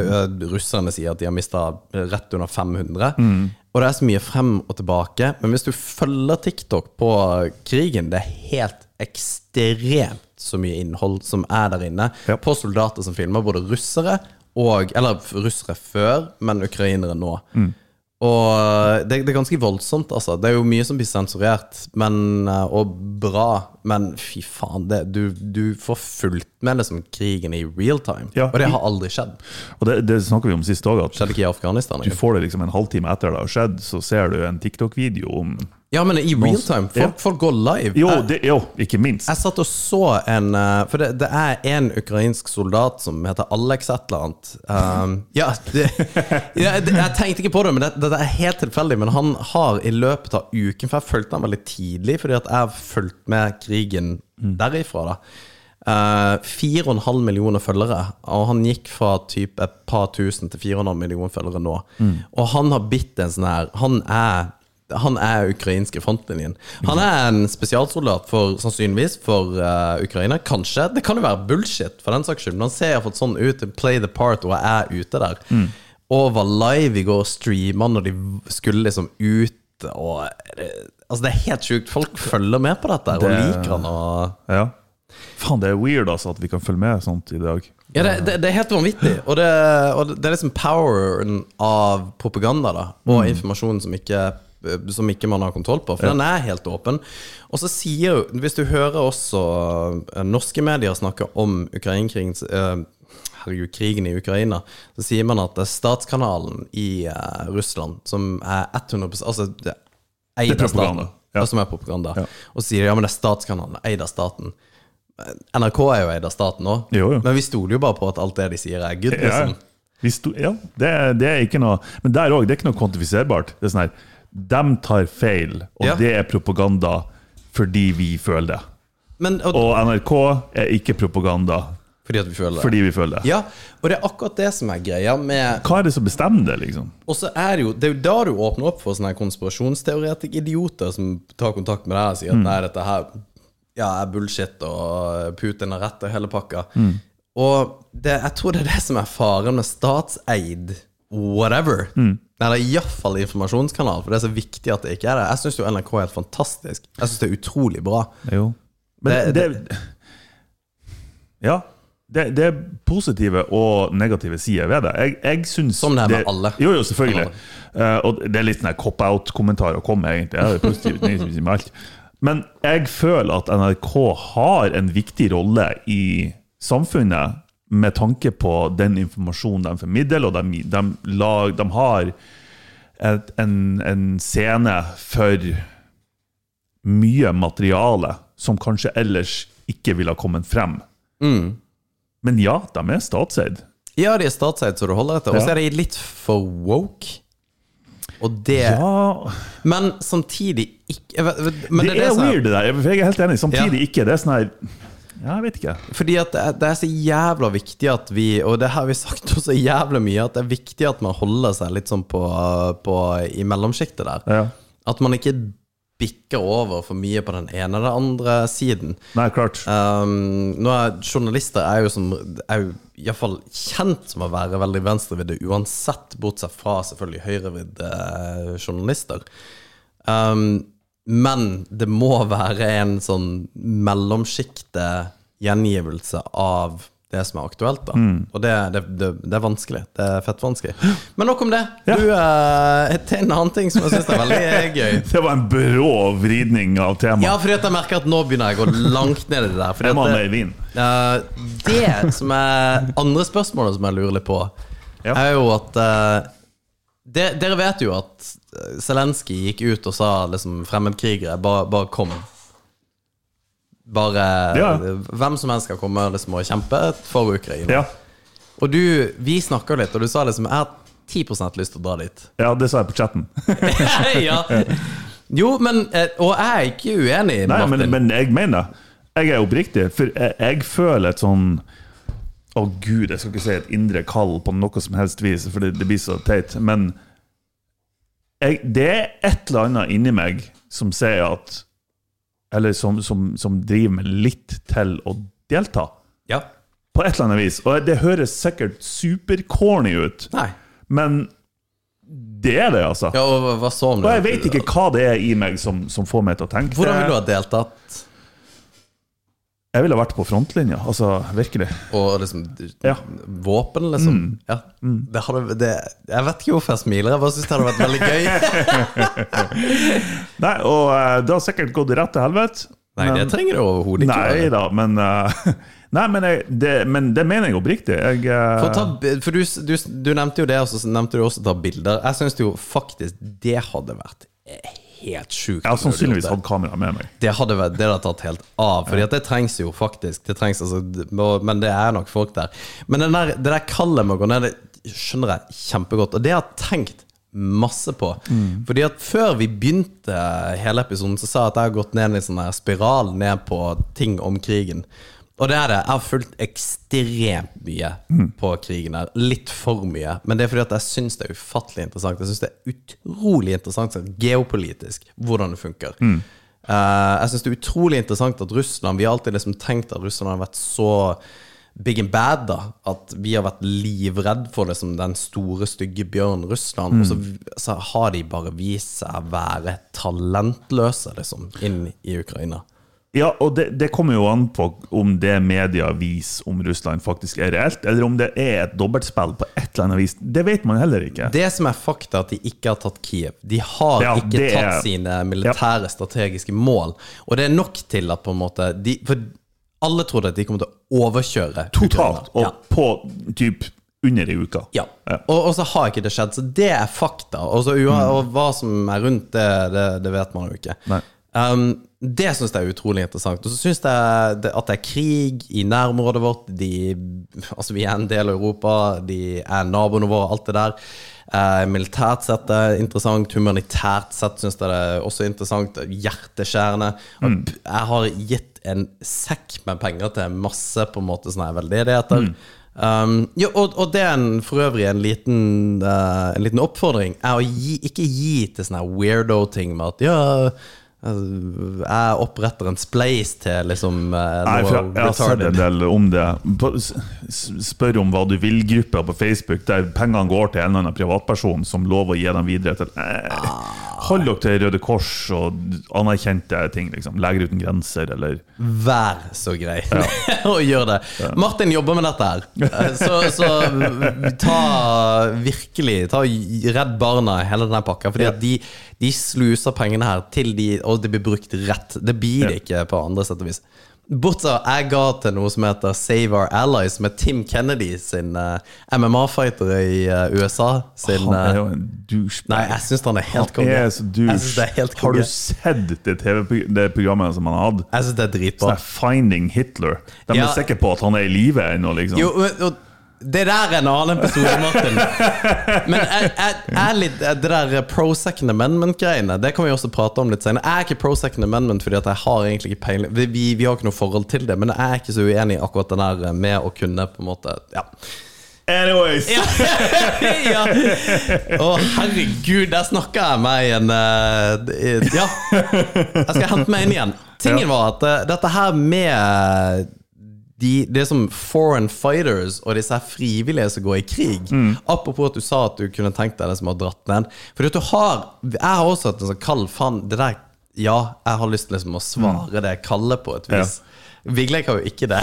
Eh, Russerne sier at de har mista rett under 500. Og det er så mye frem og tilbake. Men hvis du følger TikTok på krigen, det er helt ekstremt så mye innhold som er der inne. På soldater som filmer, både russere og Eller russere før, men ukrainere nå. Mm. Og det, det er ganske voldsomt, altså. Det er jo mye som blir sensurert, men, eh, og bra. Men fy faen, det, du, du får fulgt med liksom krigen i real time. Ja. Og det har aldri skjedd. Og det, det snakka vi om sist òg, at Skjedde ikke i Afghanistan. du Ikke? får det liksom en halvtime etter det har skjedd, så ser du en TikTok-video om Ja, men i real time. Folk, folk går live. Eh, Jo, Jeg- det, jo ikke minst. Jeg satt og så en eh, For det, det er en ukrainsk soldat som heter Alex et eller annet. Um, ja, det, ja, det, jeg tenkte ikke på det, men det- dette er helt tilfeldig. Men han har i løpet av uken For jeg fulgte han veldig tidlig, fordi at jeg har fulgt med krigen derifra. da eh, 4,5 millioner følgere, og han gikk fra typ et par tusen til 4,5 millioner følgere nå. Og han har bitt en sånn her Han er han er ukrainsk i frontlinjen. Han er en spesialsoldat for, sannsynligvis for eh, Ukraina. Kanskje. Det kan jo være bullshit, for den saks skyld, men han ser iallfall sånn ut. Play the part og er ute der. Og var live i går og streama når de skulle liksom ut og Altså, det er helt sjukt. Folk følger med på dette og Det- liker han og Ja. Faen, det er weird altså at vi kan følge med sånt i dag. Ja, det, det, det er helt vanvittig. Og det, og det er liksom poweren av propaganda da Mm. og informasjonen som ikke som ikke man har kontroll på, for den er helt åpen. Og så sier jo, hvis du hører også eh, norske medier snakke om Ukrainkrigens eh, Herregud, krigen i Ukraina, så sier man at det er statskanalen i eh, Russland som er 100 Altså, det eier Det er propaganda. staten. Ja. Ja. Som er propaganda. Ja. Og sier ja, men det er statskanalen, eid av staten. NRK er jo eid av staten òg, Jo, jo. men vi stoler jo bare på at alt det de sier, er good. Ja, Liksom. Vi sto, ja det, er- det er ikke noe Men der òg, det er ikke noe kvantifiserbart. Det er sånn her De tar feil, og Ja. det er propaganda fordi vi føler det. Men, og, Og NRK er ikke propaganda fordi at vi føler det. fordi vi føler det. Ja, og det er akkurat det som er greia med Hva er det som bestemmer det, liksom? Og så er det jo Det er jo da du åpner opp for sånne her konspirasjonsteoretikk-idioter som tar kontakt med deg og Mm. sier at nei, dette her ja, er bullshit, og Putin har rett og hele pakka. Mm. Og det, jeg tror det er det som er faren med statseid whatever. Mm. Nei, det er iallfall informasjonskanal, for det er så viktig at det ikke er det. Jeg syns jo NRK er helt fantastisk. Jeg syns det er utrolig bra. Jo. Men det, Det- Ja. Det, det er positive og negative sider ved det. Jeg, jeg syns Som det er med alle. Jo, jo, selvfølgelig. Som Eh, og det er litt sånn her cop out-kommentar å komme med, egentlig. Ja, Det er positivt negativt med alt. Men jeg føler at NRK har en viktig rolle i samfunnet med tanke på den informasjonen de formidler, og de, de, lag, de har et, en, en scene for mye materiale som kanskje ellers ikke ville ha kommet frem. Men ja, de er statseid. Ja, de er statseid, så du holder etter. Og så Ja. er de litt for woke. Og det Ja, Men samtidig ikke jeg vet- vet- men det, er som weird, det der. for Jeg er helt enig. Samtidig Ja. ikke. Det er sånn her ja, Jeg vet ikke. Fordi at det er, det er så jævla viktig at vi Og det har vi sagt også jævla mye, at det er viktig at man holder seg litt sånn på, på i mellomsjiktet der. Ja. At man ikke bikker over for mye på den ene eller andre siden. Nei, klart. Um, nå er, journalister er jo, som, er jo i hvert fall kjent som å være veldig venstrevridde uansett, bortsett fra selvfølgelig høyrevridde eh, journalister. Um, men det må være en sånn mellomsjikte gjengivelse av det som er aktuelt, da. Mm. Og det, det, det, det er vanskelig. Det er fett vanskelig. Men nok om det. Du, eh, til en annen ting som jeg syns er veldig gøy. Det var en brå vridning av Ja, temaet. fordi at jeg merker at nå begynner jeg å gå langt ned i det der. Fordi Jeg må at ha det- mer vin. Eh, det som er andre spørsmålet som jeg lurer litt på, Ja. er jo at eh, de, Dere vet jo at eh, Zelenskyj gikk ut og sa liksom fremmedkrigere, bare, bare kom. Bare Ja. Hvem som helst skal komme liksom, og kjempe for Ukraina. Ja. Og du, vi snakka litt, og du sa liksom Jeg har 10 lyst til å dra dit. ja, det sa jeg på chatten. ja. Jo, men eh, Og jeg er ikke uenig, Nei, Martin. men, men jeg mener det. Jeg er oppriktig, for jeg, jeg føler et sånn Å gud, jeg skal ikke si et indre kall på noe som helst vis, for det, det blir så teit. Men jeg, det er et eller annet inni meg som sier at Eller som, som, som driver meg litt til å delta, ja. på et eller annet vis. Og det høres sikkert supercorny ut, Nei. men det er det, altså. Ja, og hva så om Og det? jeg vet ikke Eh, hva det er i meg som, som får meg til å tenke Hvordan vil du det. ha deltatt? Jeg ville vært på frontlinja, altså virkelig. Og liksom Ja. Mm. våpen, liksom. Ja. Det hadde, det, jeg vet ikke hvorfor jeg smiler, jeg bare syns det hadde vært veldig gøy. Nei, og eh, det har sikkert gått rett til helvete. Nei, det men, trenger du overhodet ikke. Nei gjøre. da, men eh, Nei, men, jeg, det, men det mener jeg oppriktig. Jeg, eh, For, å ta, bi- for du, s- du, s- du nevnte jo det, og så nevnte du også å ta bilder. Jeg syns jo faktisk det hadde vært helt sjukt. jeg har om du gjort sannsynligvis det. hatt kamera med meg. Det hadde, vært, det hadde tatt helt av, Fordi at det trengs jo faktisk. Det trengs, altså, d- må- men det er nok folk der. Men den der, det der kallet med å gå ned, det skjønner jeg kjempegodt. Og det har jeg tenkt masse på. Fordi at før vi begynte hele episoden, så sa jeg at jeg har gått ned i en sånn her spiral ned på ting om krigen. Og det er det. Jeg har fulgt ekstremt mye på krigen her. Litt for mye. Men det er fordi at jeg syns det er ufattelig interessant. Jeg syns det er utrolig interessant sånn geopolitisk hvordan det funker. Eh, jeg syns det er utrolig interessant at Russland Vi har alltid liksom tenkt at Russland har vært så big and bad, da. At vi har vært livredd for det som den store, stygge bjørnen Russland. Og så, Mm. så har de bare vist seg å være talentløse, liksom, inn i Ukraina. Ja, og det, det kommer jo an på om det media viser om Russland faktisk er reelt, eller om det er et dobbeltspill på et eller annet vis. Det vet man heller ikke. Det som er fakta, er at de ikke har tatt Kiev. De har Ja, ikke det er- tatt sine militære strategiske mål. Og det er nok til at på en måte de, For alle trodde at de kom til å overkjøre Totalt, og Ukraina. på typ under ei uke. Ja. ja. Og, og så har ikke det skjedd. Så det er fakta. Og, så, ua- og hva som er rundt det, det, det vet man jo ikke. Nei. Um, det syns jeg er utrolig interessant. Og så syns jeg det, at det er krig i nærområdet vårt. De, altså vi er en del av Europa, de er naboene våre, alt det der. Eh, militært sett er det interessant. Humanitært sett syns jeg det er også interessant. Hjerteskjærende. Og Jeg har gitt en sekk med penger til masse på en måte sånne her veldedigheter. Um, ja, og, og det er en, for øvrig en liten, eh, en liten oppfordring. Er å gi, ikke gi til sånne her weirdo-ting med at ja Altså, Jeg oppretter en spleis til liksom eh, Nei, for noe jeg, jeg har sett en retarded. del om det. På, s- s- spør om hva du vil-grupper på Facebook, der pengene går til en eller annen privatperson som lover å gi dem videre til eh, Ah. Hold dere til Røde Kors og anerkjente ting, liksom. Leger uten grenser, eller Vær så grei og gjør det. Martin jobber med dette her, Eh, så, så ta virkelig ta Redd Barna hele denne pakka. Fordi at de, de sluser pengene her til de, og det blir brukt rett. Det blir det ikke på andre sett og vis. Bortsett fra jeg ga til noe som heter Save Our Allies, med Tim Kennedy sin eh, MMA-fighter i eh, USA. Sin, Han er eh, jo en douchebag. Nei, jeg syns han er helt konge. Jeg er så douche. Jeg synes det er helt Har konge. du sett det TV-programmet som han hadde? Jeg syns det er Det dritbra. er Finding Hitler. De Ja. er sikre på at han er i live ennå, liksom. Jo, men- og det der er en annen episode, Martin. Men jeg, jeg, jeg er litt, eh, det der pro second amendment-greiene Det kan vi også prate om litt senere. Jeg er ikke pro second amendment fordi at jeg har egentlig ikke peiling vi, vi, vi har ikke noe forhold til det, men jeg er ikke så uenig i akkurat den der med å kunne på en måte Ja. Anyways! ja. ja. Å, herregud, der snakka jeg meg igjen. eh, Ja. Jeg skal hente meg inn igjen. Tingen var at eh, dette her med de, det som foreign fighters og disse her frivillige som går i krig Apropos at du sa at du kunne tenkt deg det som har dratt ned. Fordi at du har Jeg har også hatt en sånn kald faen Det der Ja, jeg har lyst til liksom å svare det kallet på et vis. Vigleik har jo ikke det.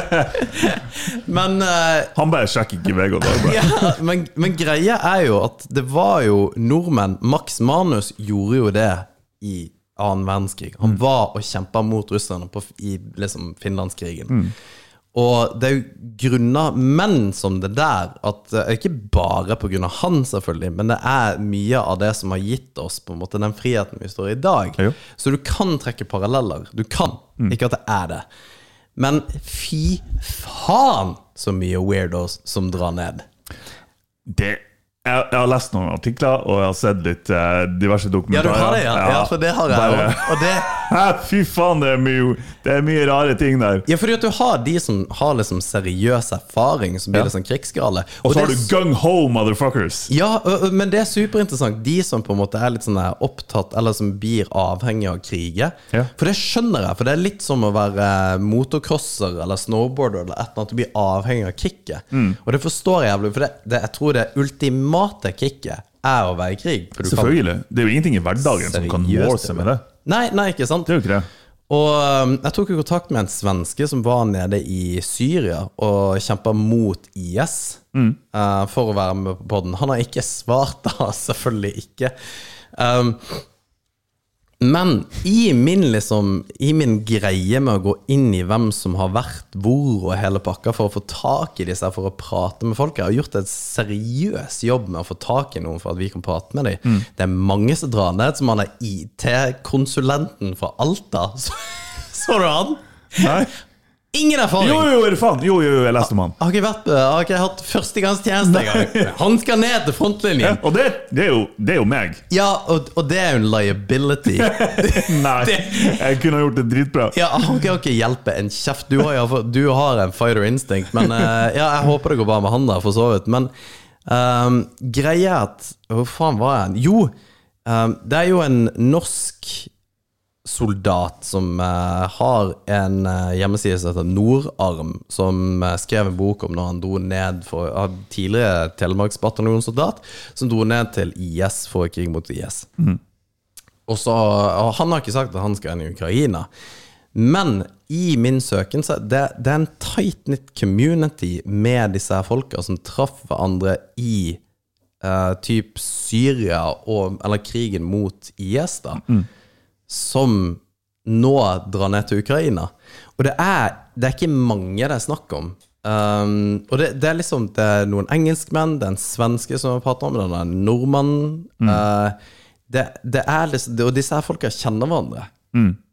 Men eh, Han bare sjekker ikke VG og Dagbladet. ja, men, men greia er jo at det var jo nordmenn Max Manus gjorde jo det i annen verdenskrig. Han var og kjempa mot russerne på, i liksom Finlandskrigen. Og det er jo grunner menn som det der, at eh, ikke bare pga. han, selvfølgelig, men det er mye av det som har gitt oss på en måte den friheten vi står i i dag. Jo. Så du kan trekke paralleller. Du kan. Ikke at det er det. Men fy faen så mye weirdos som drar ned. Det, jeg, jeg har lest noen artikler, og jeg har sett litt eh, diverse Ja, du dokumentarer. har det, ja. ja. for det har jeg Bare- òg. Og det Hæ, Fy faen, det er, mye, det er mye rare ting der. ja, fordi at du har de som har liksom seriøs erfaring, som blir Ja. litt sånn krigsgale. Og det så har du gung-ho, motherfuckers. Ja, ø- ø, men det er superinteressant. De som på en måte er litt sånn der opptatt, eller som blir avhengig av kriger. Ja. For det skjønner jeg, for det er litt som å være motocrosser eller snowboarder eller et eller annet, du blir avhengig av kicket. Mm. Og det forstår jeg jævlig, for det, det, jeg tror det ultimate kicket er å være i krig. For du kan- Selvfølgelig. Det er jo ingenting i hverdagen som kan Seriøst, måle seg med det. Nei, nei, ikke sant? Det er jo ikke det. Og um, jeg tok jo kontakt med en svenske som var nede i Syria og kjempa mot IS eh, for å være med på podden. Han har ikke svart, da. Selvfølgelig ikke. Um, men i min, liksom, i min greie med å gå inn i hvem som har vært hvor og hele pakka, for å få tak i disse, her, for å prate med folk Jeg har gjort en seriøs jobb med å få tak i noen for at vi kan prate med dem. Det er mange som drar ned, som han er IT-konsulenten fra Alta. Så, så du han? Nei. ingen erfaring! Jo, jo, er det faen! Jo, jo, jo, jeg leste om han. Har ikke vært Har ikke hatt førstegangstjeneste engang. Han skal ned til frontlinjen! Og det, det, er jo, det er jo meg. Ja, og, og det er jo en liability. Nei, jeg kunne gjort det dritbra. Ja, Han kan jo ikke hjelpe en kjeft. Du har, jo, du har en fighter instinct, men eh, ja, jeg håper det går bra med han der, for så vidt. Men um, greia er at Hvor faen var jeg? Jo, ehm, det er jo en norsk soldat som eh, har en eh, hjemmeside som heter Nordarm, som eh, skrev en bok om når han dro ned for av tidligere Telemarksbataljonsoldat, som dro ned til IS for krig mot IS. Og så, og han har ikke sagt at han skal inn i Ukraina. Men i min søken så er det, det er en tight-knit community med disse her folka som traff hverandre i eh, typ Syria og, eller krigen mot IS, da, som nå drar ned til Ukraina. Og det er, det er ikke mange det er snakk om. Um, og det, det er liksom det er noen engelskmenn, det er en svenske som har pratet om det, det er en nordmann eh, det, det er liksom, Og disse her folka kjenner hverandre.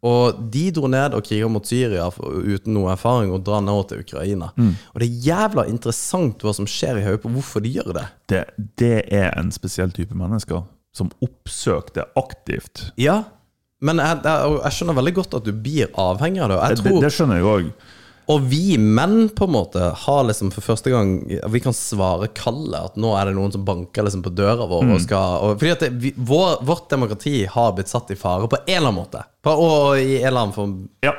Og de dro ned og kriga mot Syria for, uten noe erfaring, og drar nå til Ukraina. Mm. Og det er jævla interessant hva som skjer i hodet på hvorfor de gjør det. Det, det er en spesiell type mennesker som oppsøker det aktivt. Ja, men jeg, jeg, jeg skjønner veldig godt at du blir avhengig av det. og Jeg Det, tror, det skjønner jeg òg. Og vi menn på en måte har liksom for første gang Vi kan svare kallet at nå er det noen som banker liksom på døra vår. Mm. Og skal, og, fordi at det, vi, vår, vårt demokrati har blitt satt i fare på en eller annen måte. På, og i en eller annen form Ja.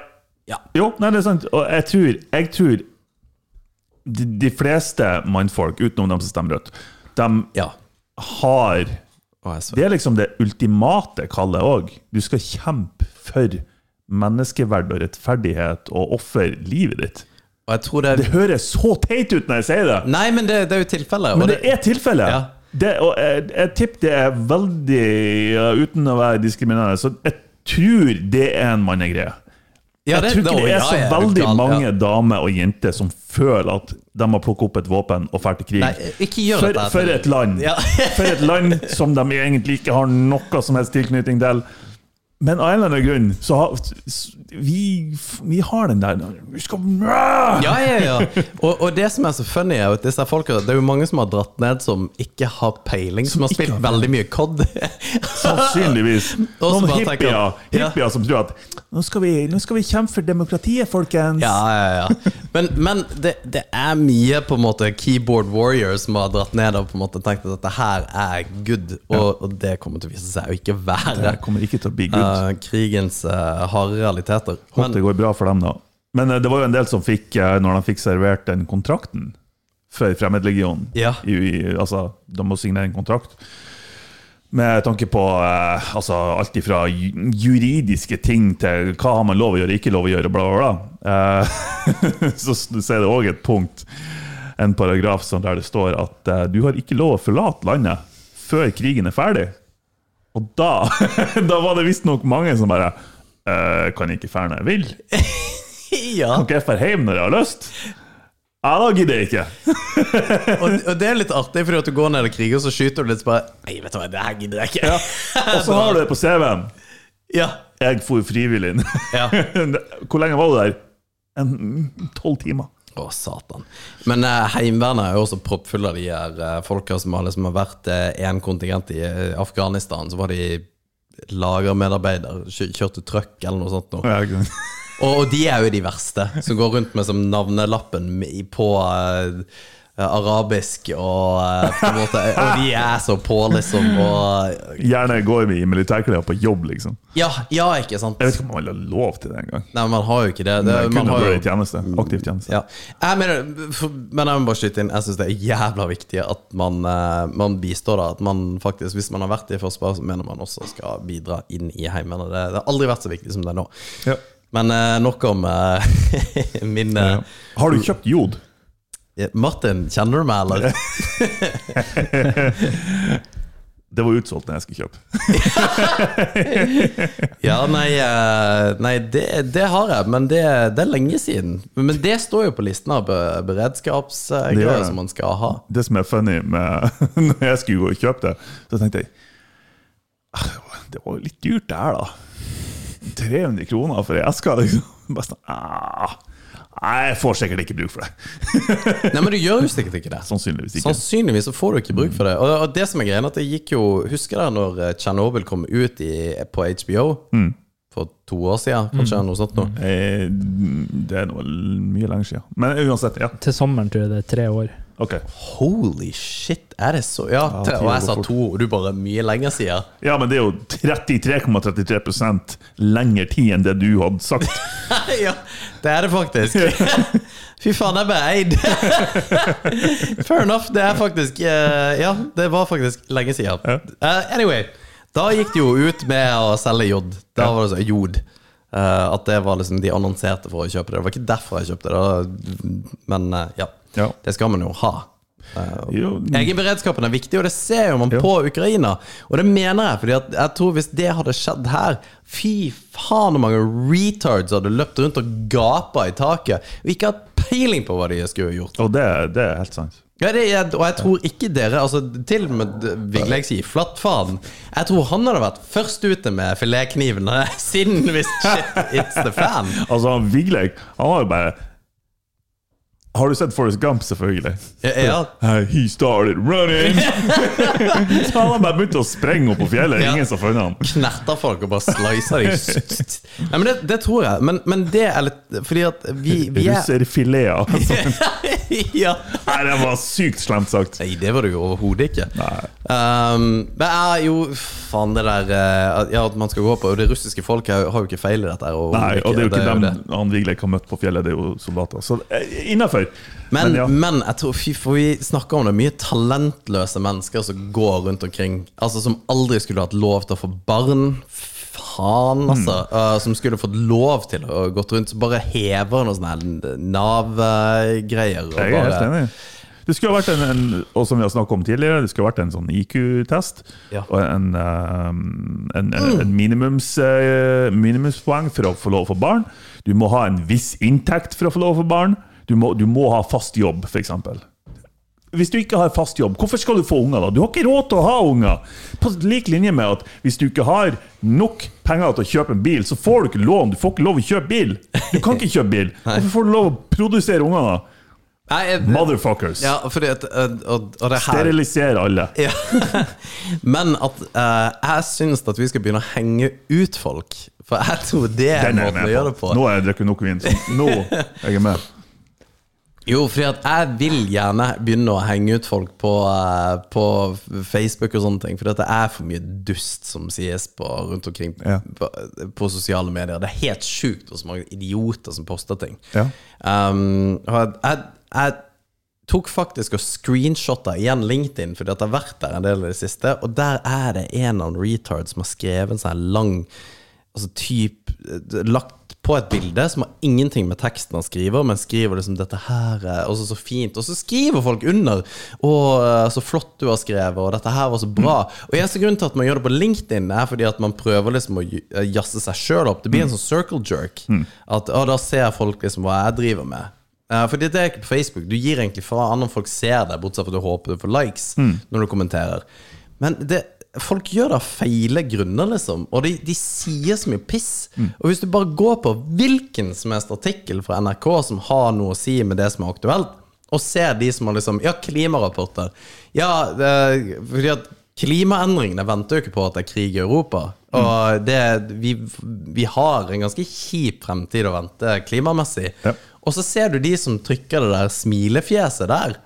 Ja. Jo, nei, det er sant. Og jeg tror, jeg tror de, de fleste mannfolk, utenom dem som stemmer rødt, de Ja. har Å, jeg Det sver- er liksom det ultimate kallet òg. Du skal kjempe for menneskeverd og rettferdighet og ofre livet ditt. Og jeg tror det Det er høres så teit ut når jeg sier det, Nei, men det, det er jo tilfellet. og men det er tilfellet. Ja. Det, og jeg, jeg tipper det er veldig ja, Uten å være diskriminerende, så jeg tror det er en mannegreie. ja, Jeg tror ikke å, det er ja, så ja, du veldig kan- mange ja. damer og jenter som føler at de har plukket opp et våpen og drar til krig. Nei, ikke gjør for, dette her for til- et land. Ja. for et land som de egentlig ikke har noe som helst tilknytning til. Men av en eller annen grunn så har s- vi, vi har den der Vi skal Ja, ja, ja. Og, og det som er så funny, er jo at disse folka Det er jo mange som har dratt ned som ikke har peiling, som, har ikke spilt har veldig mye COD. Sannsynligvis. Og så Noen bare tenker hippier, han, ja. hippier som tror at nå skal, vi, nå skal vi kjempe for demokratiet, folkens. Ja, ja, ja. Men, men det, det er mye på en måte keyboard warriors som har dratt ned og på en måte tenkt at dette her er good, og, og det kommer til å vise seg å ikke være Det kommer ikke til å bli good. eh, krigens eh, harde realiteter. Håper det Men, går bra for dem, da. Men eh, det var jo en del som fikk, eh, når de fikk servert den kontrakten for Fremmedlegionen Ja. i, i, Altså, de må signere en kontrakt. Med tanke på eh, altså, alt ifra ju- juridiske ting til hva har man lov å gjøre, ikke lov å gjøre, bla, bla, bla. Eh, så, s- så er det òg et punkt, en paragraf, sånn der det står at eh, du har ikke lov å forlate landet før krigen er ferdig. Og da, da var det visstnok mange som bare «Eh, Kan jeg ikke fære når jeg vil? ja, Kan ikke jeg fære hjem når jeg har lyst? Ja, da gidder jeg ikke. og, og det er litt artig, fordi at du går ned og kriger, og så skyter du litt så bare Nei, vet du hva, det her gidder jeg ikke. Og så har du det på CV-en. Ja, Jeg for frivillig. ja. Hvor lenge var du der? En Tolv timer. Å, satan. Men eh, Heimevernet er jo også proppfulle av de her eh, folka som har liksom har vært én kontingent i eh, Afghanistan. Så var de lagermedarbeider, kjø- kjørte truck eller noe sånt. Nå. Og, og de er jo de verste, som går rundt med som navnelappen i- på eh, eh, arabisk og eh, på en måte Og de er så på, liksom, og Gjerne går vi i militærklær på jobb, liksom. Ja, ja, ikke sant? Jeg vet ikke om man har lov til det engang. Nei, man har jo ikke det. det Jeg man kunne har jo vært i tjeneste. Aktiv tjeneste. Ja. Jeg mener, for, men jeg må bare skyte inn Jeg syns det er jævla viktig at man, eh, man bistår da. At man faktisk, hvis man har vært i Forsvaret, så mener man også skal bidra inn i Heimevernet. Det, det har aldri vært så viktig som det er nå. Ja. Men eh, nok om eh, min eh, Har du kjøpt jod? Martin, kjenner du meg, eller? Det var utsolgt når jeg skulle kjøpe. Ja, nei, eh, nei det, det har jeg, men det, det er lenge siden. Men det står jo på listen av be- Det gjør beredskapsgreier det. som man skal ha. det som er funny med når jeg skulle gå og kjøpe det, så tenkte jeg "Ah, det var- det var jo litt dyrt det her, da. 300 kroner for ei eske, liksom. Bare sånn, ah, Nei, jeg får sikkert ikke bruk for det. Nei, men du gjør jo sikkert ikke det. Sannsynligvis ikke. Sannsynligvis så får du ikke bruk for det. Og, og det som er greien, at jeg gikk jo Husker dere når eh, Chernobyl kom ut i, på HBO? Mm. For to år siden, kanskje? Noe sånt nå. Eh, Det er noe mye lenger siden. Men uansett, ja. Til sommeren tror jeg det er tre år. Ok. Holy shit, er det så Ja, ti te- og år jeg sa går fort. to, og du bare mye lenger siden. Ja, men det er jo 33,33 lengre tid enn det du hadde sagt. ja, det er det faktisk. Fy faen, jeg ble eid. Fair enough. Det er faktisk eh, Ja, det var faktisk lenge siden. Eh, anyway, da gikk det jo ut med å selge jod. Da var det så, jod. Eh, at det var liksom de annonserte for å kjøpe det. Det var ikke derfor jeg kjøpte det, da. men eh, ja. Ja. Det skal man jo ha. Jo, Eh, Egenberedskapen er viktig, og det ser jo man på Ukraina. Og det mener jeg, fordi at jeg tror hvis det hadde skjedd her Fy faen hvor mange retards hadde løpt rundt og gapa i taket og ikke hatt peiling på hva de skulle gjort. og det, det er helt sant. Ja, det, er- og jeg tror ikke dere altså Til og med vil jeg si flattfaen. Jeg tror han hadde vært først ute med filetkniven eh, siden hvis shit it's the fan. Altså, han Vigleg, han har jo bare Har du sett Forrest Gump, selvfølgelig? Ja, Hey, He started running! så han har bare begynt å sprenge opp på fjellet. Ja. Ingen som fant han. knerter folk og bare slicer dem. Nei, men det, det tror jeg. Men, men det er litt Fordi at vi, vi er Russerfileter. altså. ja. Nei, det var sykt slemt sagt. Nei, det var det jo overhodet ikke. Nei. Um, det er jo faen det der eh, at- ja, at man skal gå på Og det russiske folk har har jo ikke feil i dette. her, Nei, overhodet og det er jo ikke det. dem han Vigleg har møtt på fjellet, det er jo soldater. Så eh, innafor. Men, men, jeg tror, fy, for vi snakker om det mye talentløse mennesker som går rundt omkring. Altså Som aldri skulle hatt lov til å få barn. Mm. Faen, altså. Uh, som skulle fått lov til å gå rundt. Så bare hever noen sånne Nav-greier. og Jeg er helt bare- enig. Det skulle ha vært en, en og som vi har snakket om tidligere, det skulle ha vært en sånn IQ-test. Ja. Og en, eh, en, en, en minimums, eh, minimumspoeng for å få lov å få barn. Du må ha en viss inntekt for å få lov å få barn. Du må, du må ha fast jobb, f.eks. Hvis du ikke har fast jobb, hvorfor skal du få unger da? Du har ikke råd til å ha unger. På lik linje med at hvis du ikke har nok penger til å kjøpe en bil, så får du ikke lån. Du får ikke lov å kjøpe bil. Du kan ikke kjøpe bil. Hvorfor får du lov å produsere unger da? Nei, jeg- Motherfuckers. Ja, fordi at og, og, og det er her Sterilisere alle. Ja. Men at eh, jeg syns at vi skal begynne å henge ut folk. For jeg tror det er Den er jeg måten å gjøre med det på. på. Nå har jeg drukket nok vin. så Nå er jeg med. Jo, fordi at jeg vil gjerne begynne å henge ut folk på, eh, på Facebook og sånne ting. Fordi at det er for mye dust som sies på, rundt omkring Ja. på, på sosiale medier. Det er helt sjukt hvor så mange idioter som poster ting. Ja. Um, og jeg, jeg, jeg tok faktisk og screenshotta igjen LinkedIn, fordi at jeg har vært der en del i det siste, og der er det en av en retard som har skrevet en sånn lang Altså typ eh, Lagt på et bilde som har ingenting med teksten han skriver, men skriver liksom 'dette her er også så fint', og så skriver folk under 'Å, eh, så flott du har skrevet', og 'dette her var så bra'. Og eneste grunn til at man gjør det på LinkedIn, er fordi at man prøver liksom å ju- eh, jazze seg sjøl opp. Det blir en sånn circle jerk. At å, da ser folk liksom hva jeg driver med. Eh, Fordi det er ikke på Facebook. Du gir egentlig faen om folk ser deg, bortsett fra at du håper du får likes når du kommenterer. Men det, folk gjør det av feile grunner, liksom. Og de, de sier så mye piss. Og hvis du bare går på hvilken som helst artikkel fra NRK som har noe å si med det som er aktuelt, og ser de som har liksom Ja, klimarapporter. Ja, det, fordi at klimaendringene venter jo ikke på at det er krig i Europa. Og det, vi, vi har en ganske kjip fremtid å vente klimamessig. Ja. Og så ser du de som trykker det der smilefjeset der,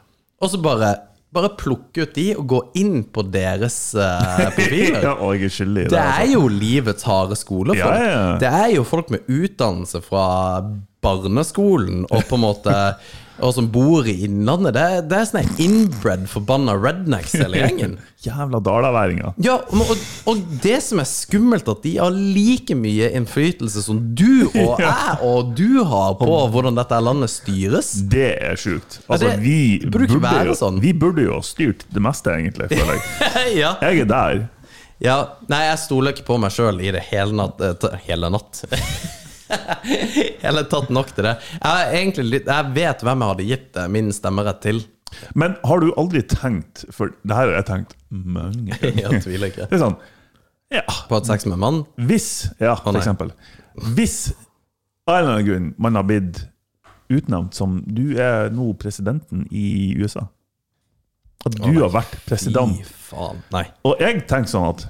og så bare, bare plukke ut de og gå inn på deres eh, profiler. Ja, og jeg er skyldig i det. Det er altså. jo livets harde skole. Folk. Ja, ja, ja. Det er jo folk med utdannelse fra barneskolen og på en måte Og som bor i Innlandet. Det er, det er sånne inbred forbanna rednecks hele gjengen. altså. Jævla dalaværinger. Ja, men- og, og det som er skummelt, at de har like mye innflytelse som du og jeg og du har på hvordan dette landet styres. Det er sjukt. Altså, det vi, burde ikke være jo, sånn. vi burde jo ha styrt det meste, egentlig. Føler jeg. ja. jeg er der. ja. Nei, jeg stoler ikke på meg sjøl i det hele natt eh, ta- Hele natt. hele tatt nok til det. Jeg, er egentlig, litt- jeg vet hvem jeg hadde gitt eh, min stemmerett til. Men har du aldri tenkt For det her har jeg tenkt mange Jeg ganger. tviler ikke. Det er sånn Ja, På at sex med mann? hvis Ja, for nei. eksempel. Hvis av en eller annen grunn man har blitt utnevnt som Du er nå presidenten i USA. At du har vært president. Fy faen. Nei. Og jeg tenker sånn at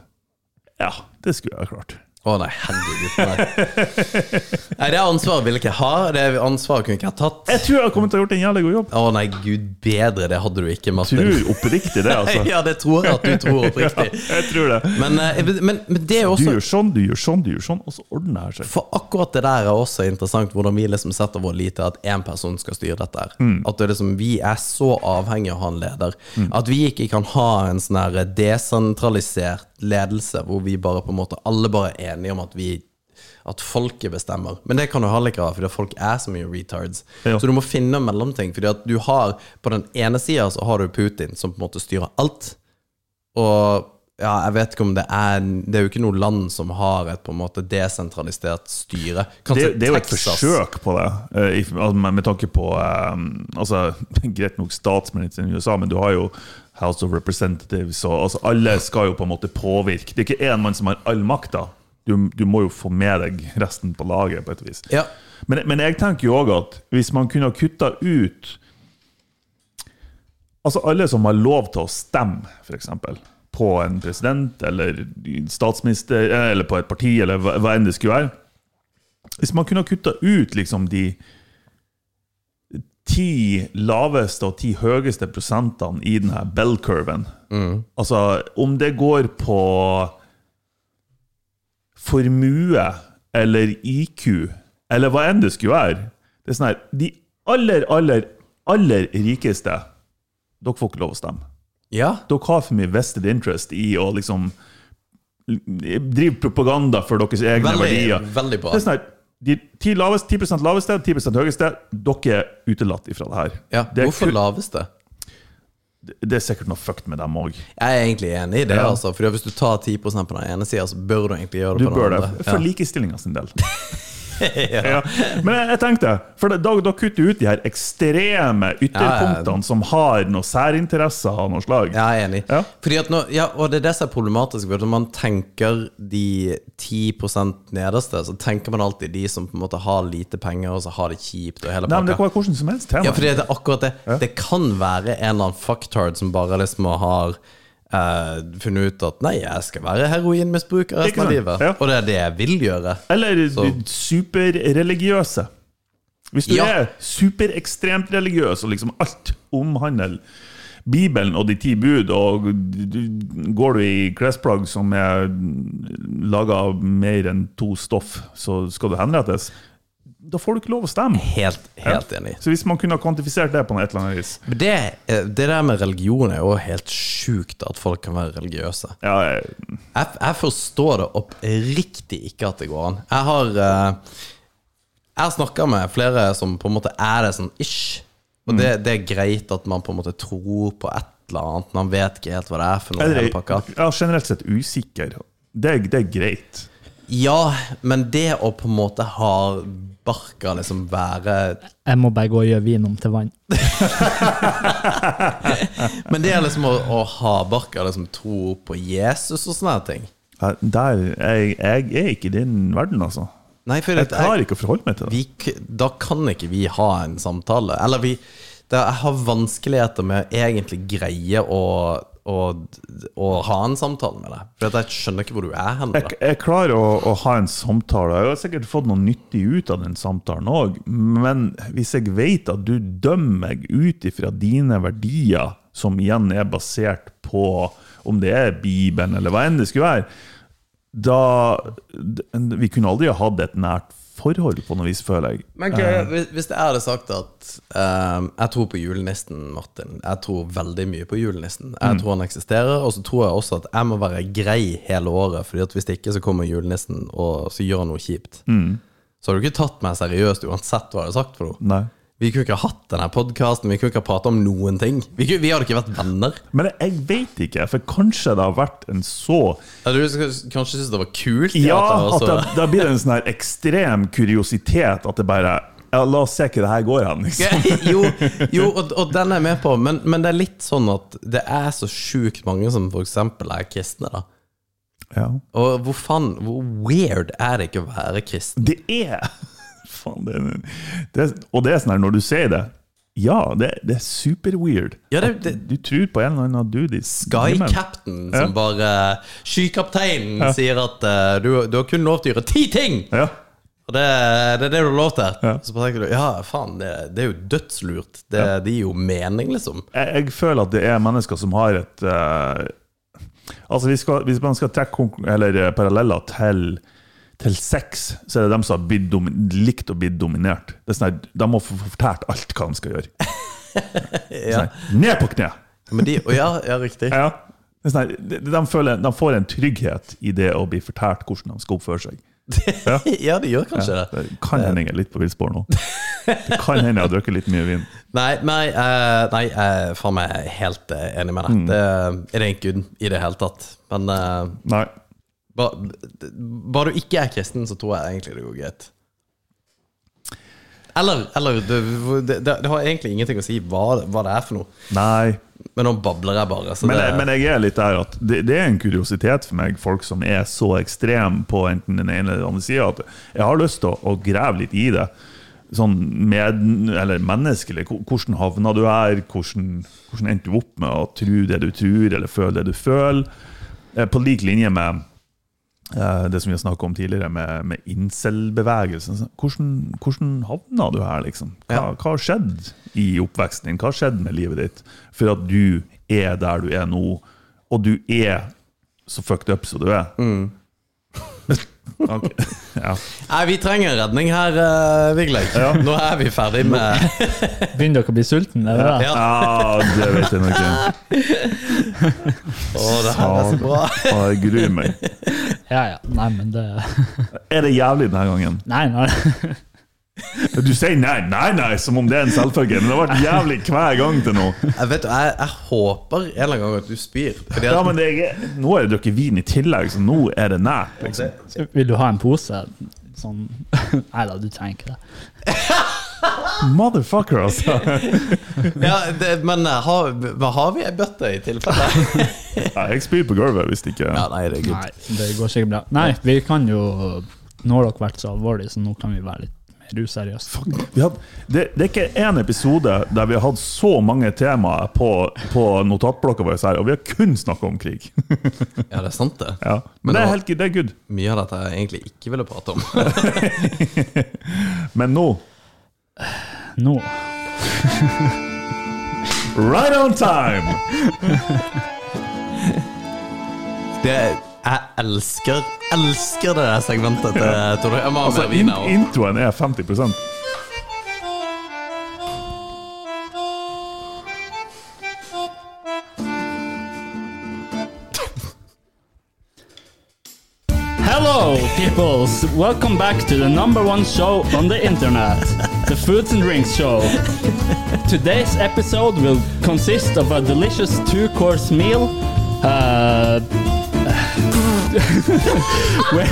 Ja, det skulle jeg ha klart. Å nei, herregud. Nei. nei, det ansvaret ville ikke jeg ha. Det ansvaret kunne ikke jeg tatt. Jeg tror jeg kommer til å ha gjort en jævlig god jobb. Å nei, gud bedre, det hadde du ikke, Jeg Martin. tror oppriktig det, altså. ja, det tror jeg at du tror oppriktig. Ja, jeg tror det. Men, eh, men, men det er Du også gjør sånn, du gjør sånn, du gjør sånn, og så ordner det her seg. For akkurat det der er også interessant, hvordan vi liksom setter vår lit til at én person skal styre dette. her. At det er liksom, vi er så avhengig av å ha en leder. At vi ikke kan ha en sånn her desentralisert ledelse hvor vi bare på en måte alle bare er enige om at vi at folket bestemmer. Men det kan du heller ikke ha, fordi at folk er så mye retards. Ja. Så du må finne en mellomting. Fordi at du har, på den ene sida så har du Putin, som på en måte styrer alt. Og ja, jeg vet ikke om det er Det er jo ikke noe land som har et på en måte desentralisert styre. Det, Kanskje det er jo et Texas. forsøk på det, eh, i- al- med med tanke på eh, altså, Greit nok statsministeren i USA, men du har jo House of Representatives og altså, Alle skal jo på en måte påvirke. Det er ikke én mann som har all makta. Du, du må jo få med deg resten på laget, på et vis. Ja. Men, men jeg tenker jo òg at hvis man kunne ha kutta ut Altså alle som har lov til å stemme, f.eks. På en president eller statsminister eh, eller på et parti, eller hva, hva enn det skulle være. Hvis man kunne ha kutta ut liksom de ti laveste og ti høyeste prosentene i denne bell-curven Altså, om det går på formue eller IQ, eller hva enn det skulle være Det er sånn her De aller, aller, aller rikeste Dere får ikke lov å stemme. ja. Dere har for mye vested interest i å liksom drive propaganda for deres egne Veldig, verdier. veldig bra. Det er sånn her, de 10, lavest, 10 laveste, 10 høyeste, dere er utelatt ifra det her. Ja. det, er Hvorfor kun- laveste? det er sikkert noe fucked med dem òg. Jeg er egentlig enig i det. Ja. altså Fordi Hvis du tar 10 på den ene sida, så bør du egentlig gjøre det Du på bør den det, andre. for likestillinga sin del. Ja. Ja. Men jeg, jeg tenkte, for da, da kutter du ut de her ekstreme ytterpunktene som har noen særinteresser av noe slag. Ja, jeg er enig. Ja. Fordi at nå, ja, og det er det som er problematisk. For når man tenker de 10 nederste, så tenker man alltid de som på en måte har lite penger, og så har det kjipt. og hele Nei, men Det pakka. kan være hvordan som helst tema. Ja, fordi det er akkurat det. Det kan være en eller annen fucktard som bare liksom har eh, funnet ut at 'nei, jeg skal være heroinmisbruker Ikke resten av sant? livet'. Ja. Og det er det jeg vil gjøre. Eller Så- superreligiøse. Hvis du Ja. er superekstremt religiøs og liksom alt omhandler Bibelen og de ti bud, og du- du- går du i klesplagg som er laga av mer enn to stoff, så skal du henrettes. Da får du ikke lov å stemme. Helt, helt enig. Så hvis man kunne ha kvantifisert det på et eller annet vis Men det, eh, det der med religion er jo helt sjukt, at folk kan være religiøse. ja, eh, jeg- Jeg, jeg forstår det oppriktig ikke at det går an. Jeg har eh, Jeg snakker med flere som på en måte er det sånn ish. Mm. Og det, det er greit at man på en måte tror på et eller annet, men man vet ikke helt hva det er for noe. i hele pakka. Eller, ja, generelt sett usikker. Det er, det er greit. Ja, men det å på en måte ha barka liksom være Jeg må bare gå og gjøre vin om til vann. Men det er liksom å, å ha barka liksom tro på Jesus og sånne her ting. Ja, Der, jeg, jeg er ikke i din verden, altså. Nei, for Jeg at jeg- klarer ikke å forholde meg til det. vi, k- da kan ikke vi ha en samtale. Eller vi det, Jeg har vanskeligheter med å egentlig greie å, å, å ha en samtale med deg. For at jeg skjønner ikke hvor du er hen. Jeg, jeg klarer å, å ha en samtale. Jeg har sikkert fått noe nyttig ut av den samtalen òg, men hvis jeg vet at du dømmer meg ut ifra dine verdier, som igjen er basert på om det er Bibelen eller hva enn det skulle være, da d- Vi kunne aldri ha hatt et nært forhold på noe vis, føler jeg. Men hva- hvis- hvis jeg hadde sagt at ehm, jeg tror på julenissen, Martin Jeg tror veldig mye på julenissen. Mm. Jeg tror han eksisterer, og så tror jeg også at jeg må være grei hele året. Fordi at hvis ikke, så kommer julenissen, og så gjør han noe kjipt. Så har du ikke tatt meg seriøst uansett hva jeg har sagt for noe. Mm. Nei. Vi kunne ikke hatt denne podkasten, vi kunne ikke prata om noen ting. Vi, kunne, vi hadde ikke vært venner. Men jeg vet ikke, for kanskje det har vært en så Ja, Du skal kanskje synes det var kult? Ja, at at det da, var så- da blir det en sånn her ekstrem kuriositet at det bare ja, La oss se hva det her går hen, liksom. jo, jo og, og den er jeg med på, men, men det er litt sånn at det er så sjukt mange som for eksempel er kristne, da. Ja. Og hvor faen, hvor weird er det ikke å være kristen? Det er Faen, det er, det er, og det er sånn her, når du sier det Ja, det, det er super-weird. Ja, det- det- Du tror på en eller annen dude i Guy himmelen. Captain som bare Skykapteinen sier at eh, du, du har kun lov til å gjøre ti ting! Ja. Og det, det er det du har lov til. Ja. Så bare tenker du ja, faen, det, det er jo dødslurt. Det, det gir jo mening, liksom. jeg, jeg føler at det er mennesker som har et eh, Altså vi skal, Hvis man skal trekke konkur- eller, eh, paralleller til, til sex, så er det dem som har blitt domi- likt å bli dominert. Det er sånn her, De må få fortalt alt hva de skal gjøre. Sånn Ja. Ned på kne! Men de, å ja, ja, riktig. Ja. Det er sånn her, de, de, føler, de får en trygghet i det å bli fortalt hvordan de skal oppføre seg. Ja, de gjør kanskje det. Det kan hende jeg er litt på villspor nå. Det kan hende jeg har drukket litt mye vin. Nei, nei, eh, nei eh, faen meg jeg er helt eh, enig med Mm. deg. Det er det ikke i det hele tatt. Men eh, Nei. ba- d- bare du ikke er kristen, så tror jeg egentlig det går greit. Eller, eller det, det, det, det har egentlig ingenting å si hva, hva det er for noe. Nei. Men nå babler jeg bare. Så Men, det, jeg- men jeg er litt der at det, det er en kuriositet for meg, folk som er så ekstrem på enten den ene eller den andre sida, at jeg har lyst til å, å grave litt i det. Sånn med, eller menneskelig. hvor- Hvordan havna du her? Hvordan, hvordan endte du opp med å tro det du tror, eller føle det du føler? Eh, På lik linje med eh, det som vi har snakka om tidligere, med, med incel-bevegelsen. Så Hvordan, hvordan havna du her, liksom? Hva, Ja. hva har skjedd i oppveksten din? Hva har skjedd med livet ditt for at du er der du er nå, og du er så fucked up som du er? Mm. Ok. Ja. Nei, vi trenger en redning her, uh, Vigleik. Nå er vi ferdig med Begynner dere å bli sultne? Er det det? Ja. Ah, det vet jeg nok ikke. Å, det her er så bra. Ah, jeg gruer meg. Ja, ja. Nei, men det Er det jævlig denne gangen? Nei, nei. Du sier nei, nei, nei, som om det er en selvfølge, men det har vært jævlig hver gang til nå. Jeg vet, jeg, jeg håper en eller annen gang at du spyr. Fordi at, Ja, men det er, nå har jeg drukket vin i tillegg, så nå er det nært. Liksom. Vil du ha en pose? Sånn Nei da, du trenger ikke det. Motherfucker, altså! ja, det, men eh, har, men har vi ei bøtte i tilfelle? Nei, jeg spyr på gulvet hvis ikke Ja, nei, det er Nei, det går sikkert bra. Nei, vi kan jo Nå har dere vært så alvorlige, så nå kan vi være litt mer useriøse. vi hadde, det, det er ikke én episode der vi har hatt så mange temaer på, på notatblokka vår, her, og vi har kun snakka om krig. Ja, det er sant, det. Ja. Men, det er helt good, det er good. Mye av dette jeg egentlig ikke ville prate om. Men nå Nå Right on time! Det, jeg elsker, elsker det segmentet til Tore. Jeg må ha Altså, mer in, vin her også. introen er 50 Hello, peoples! Welcome back to the number one show on the internet, the Foods and Drinks Show. Today's episode will consist of a delicious two course meal. Uh, where,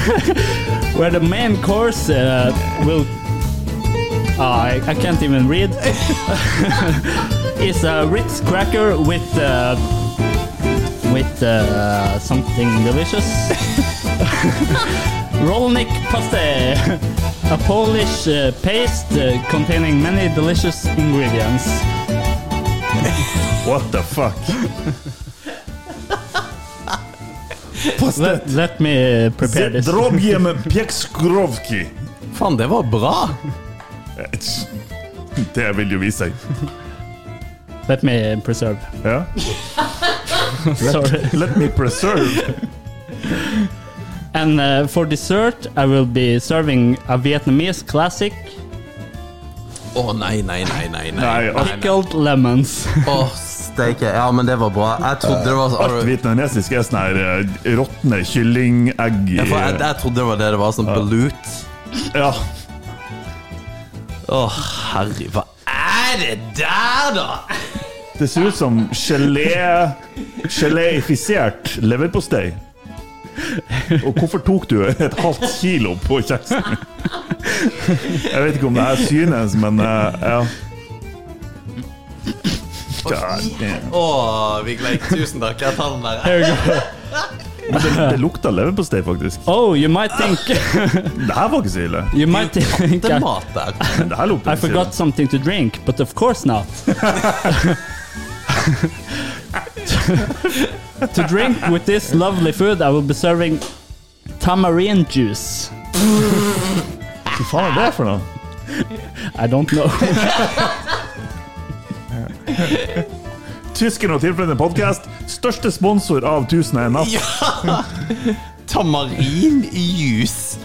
where the main course uh, will. Ah, I, I can't even read. is a Ritz cracker with. Uh, with uh, something delicious. Rolnik paste, a Polish uh, paste uh, containing many delicious ingredients. What the fuck? Let, let me uh, prepare this. Zdrobjem piekskrovki. Faen, det var bra! Det vil jo vise seg. Let me uh, preserve. Ja. Sorry. Let me preserve. And uh, for dessert, I will be serving a Vietnamese classic, Å nei, nei, nei, nei. nei. Nei, alt- pickled lemons. Å, steike. Ja, men det var bra. Jeg trodde det var Alt vietnamesisk er sånn her eh, råtne kyllingegg i Ja, for jeg, jeg trodde det var det det var, sånn balut. Ja. Å, herre, hva er det der, da?! Det ser ut som gelé geléifisert leverpostei. Og hvorfor tok du et halvt kilo på kjeksen? Jeg vet ikke om det her synes, men eh, ja. God damn. Å, Vigleik, tusen takk. Jeg tar den der. There you go. Men det, det lukta leverpostei, faktisk. Oh, you might think Det her var ikke så ille. you might think Det er I, mat der. Men det her lukta I ikke så ille. forgot something to drink, but of course not. to drink with this lovely food, I will be serving tamarind juice. Hva faen er det for noe? I don't know. Tyskeren og tilfellende podkast. Største sponsor av 1000 og en natt. Ja! Tamarinjuice.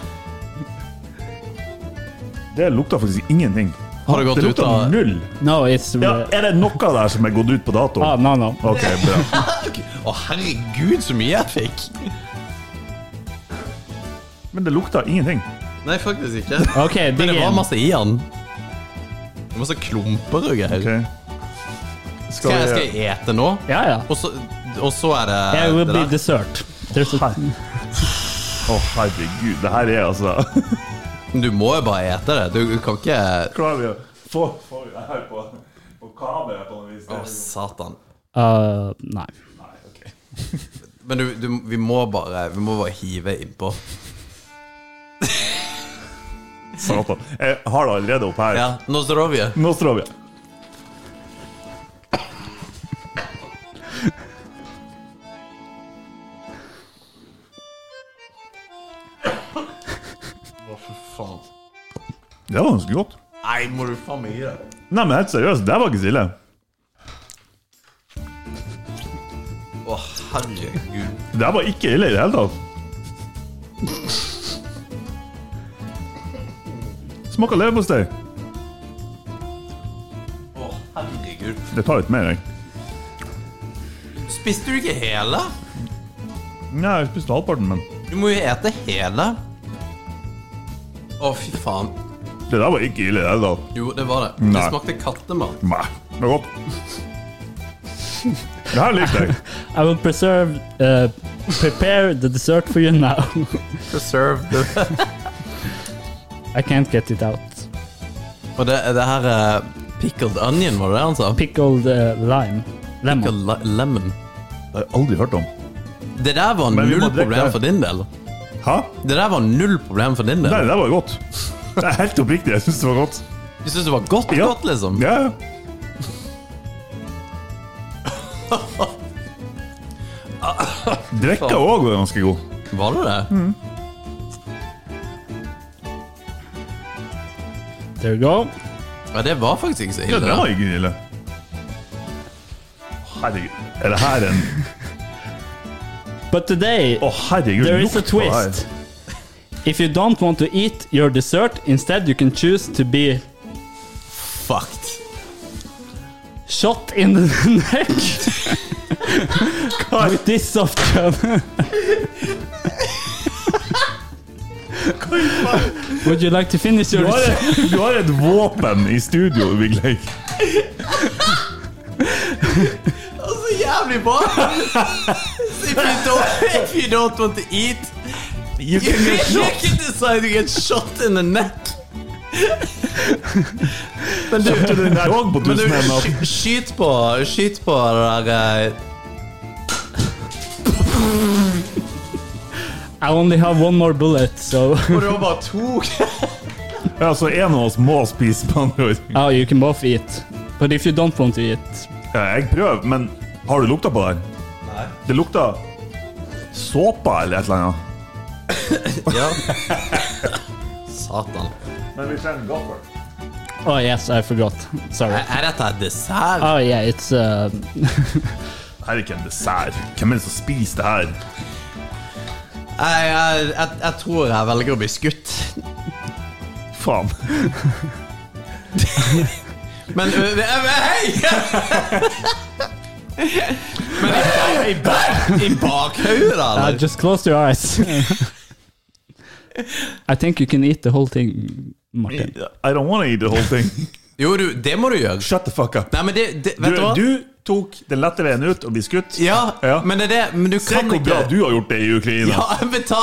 Det lukta faktisk ingenting. Har det gått det ut lukta av- null. No, it's uh, Ja, er det noe der som er gått ut på dato? oh, no no. Ok, bra. Å, herregud, så mye jeg fikk! Men det lukta ingenting. Nei, faktisk ikke. Okay, dig Men det var in. masse i den. Det var Masse klumper og greier. Ok. Skal jeg, skal jeg ete nå? Ja, ja. Og så, og så er det Yeah, it will be det der. dessert. There's a, Å, herregud. Det her er altså Du må jo bare ete det. Du kan ikke Klarer vi å få, få det her på, på kamera på noe vis? Å, satan. uh, nei. Nei, ok. Men du, du, vi må bare Vi må bare hive innpå. Satan. Jeg har det allerede opp her. Ja, nå står vi her. Nå står vi. Å, fy faen. Det var ganske godt. Nei, må du faen meg gi deg. Nei, men helt seriøst, det var ikke så ille. Å, herregud. Det var ikke ille i det hele tatt. Smaker leverpostei. Å, herregud. Det tar litt mer, jeg. Spiste du ikke hele? Nei, jeg spiste halvparten, men Du må jo ete hele. Å, fy faen. det der var ikke ille i det hele tatt. Jo, det var det. Det Nei. smakte kattemat. Nei, det var godt. Det her likte jeg. I will preserve, uh, prepare the dessert for you now. I can't get it out. Og det, det her er pickled onion, var det det han sa? Pickled uh, lime. Lemon. Pickled li- lemon. Det har jeg aldri hørt om. Det der var Men vi må null drikke problem det. for din del. Hæ? Det der var null problem for din Nei, del. det der var godt. Det er helt oppriktig. Jeg syns det var godt. Du syns det var godt, Ja. godt, liksom? Ja, ja. Drikka òg var ganske god. Var det det? Mm. There you go. Ja, det var faktisk ikke så Ja, ille. det var ikke ille. Herregud. Er det her en But today, Å, herregud, there is a lukt på det her. twist. If you don't want to eat your dessert, instead you can choose to be Fucked. shot in the neck with this soft gum. Would you like to finish your Du har, dessert? et, du har et våpen i studio, Vigleik. Og så jævlig bra! if, you don't, if you don't want to eat, You you can get you shot. can decide to get shot in the neck. Men du, Du, den er også på men du tusen hender. sky- skyt på Skyt på det der eh, I only have one more bullet, so Og det var bare to Ja, så en av oss må spise på andre ord. oh, you can both eat. But if you don't want to eat, Ja, jeg prøver, men har du lukta på den? Nei. Det lukta såpe eller et eller annet. Ja. Satan. Men vi trenger gaffel. oh yes, I forgot. Sorry. Er, er dette dessert? Oh yeah, it's uh, Her er ikke en dessert. Hvem er det som spiser det her? Jeg, jeg, jeg, jeg tror jeg velger å bli skutt. Faen. Men ø, ø, ø, Hei! Men i, ba- i, ba- i bakhauget, da? uh, Eller? just close your eyes. I think you can eat the whole thing, Martin. I don't wanna eat the whole thing. Jo, du, det må du gjøre. Shut the fuck up. Nei, men det, det Vet du Du, hva? du tok den lette veien ut og ble skutt. Ja, Ja. men det er det Men du Se kan hvor bra du har gjort det i Ukraina. Ja, men ta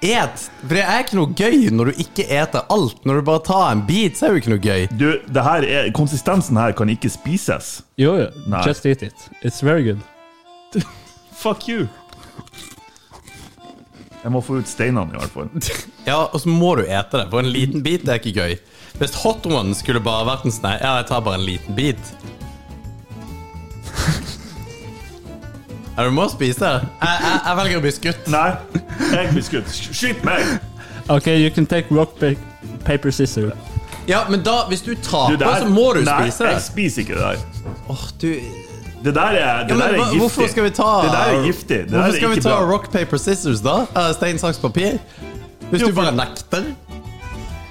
Et. For det er ikke noe gøy når du ikke eter alt. Når du bare tar en bit, så er det jo ikke noe gøy. Du, det her er, konsistensen her kan ikke spises. Jo, jo, Nei. just eat it. It's very good. Fuck you. Jeg må få ut steinene, i hvert fall. Ja, og så må du ete det, for en liten bit er ikke gøy. Hvis hot one skulle bare vært en sånn Ja, jeg tar bare en liten bit. Ja, du må spise det. Jeg, jeg, jeg velger å bli skutt. Nei, jeg blir skutt. Skyt meg! Okay, you can take rock, pa- paper, scissors. Ja, men da, hvis du Du, taper, det her- så må du Nei, spise jeg det. spiser ikke det der. Åh, du Det der er, det Ja, men der er hva- giftig. hvorfor skal vi ta Det der er giftig. Det der Hvorfor er skal vi ikke ta bra. rock, paper, scissors, da? Eh, Stein, saks, papir? Hvis Jo, du bare for- nekter?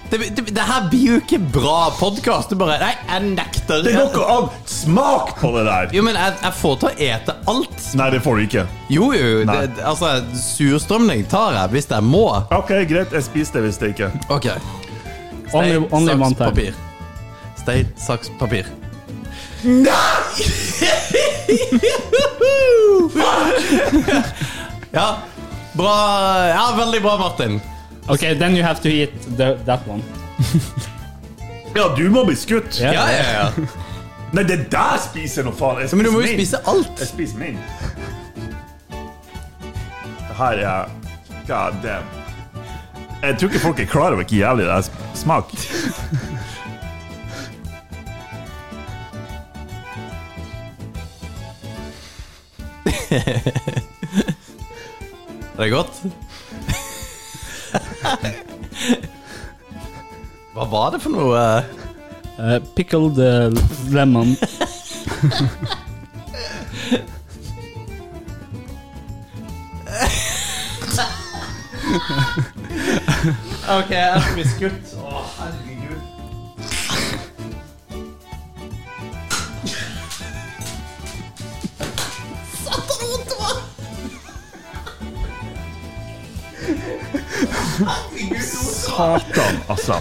Det, det, det her blir jo ikke bra podkast. Du bare Nei, jeg nekter. Det går ikke an! Smak på det der! Jo, men jeg, jeg får til å ete alt. Nei, det får du ikke. Jo, jo. Nei. Det, altså, surstrømning tar jeg hvis jeg må. Ok, greit, jeg spiser det hvis det ikke. Ok. Only, only one time. papir. Stein, saks, papir. Nei! ja. Bra. Ja, veldig bra, Martin. Okay, then you have to eat the, that one. Ja, du må bli skutt. Ja. Ja, ja, ja. Nei, det der spiser jeg noe faen. Jeg Men du må jo min. spise alt. Jeg spiser min. Det her er God damn. Jeg tror ikke folk er klar over hvor jævlig det er smak. Er det godt? Hva var det for noe? Uh, pickled uh, lemon. Ok, jeg skal bli skutt. Satan, altså.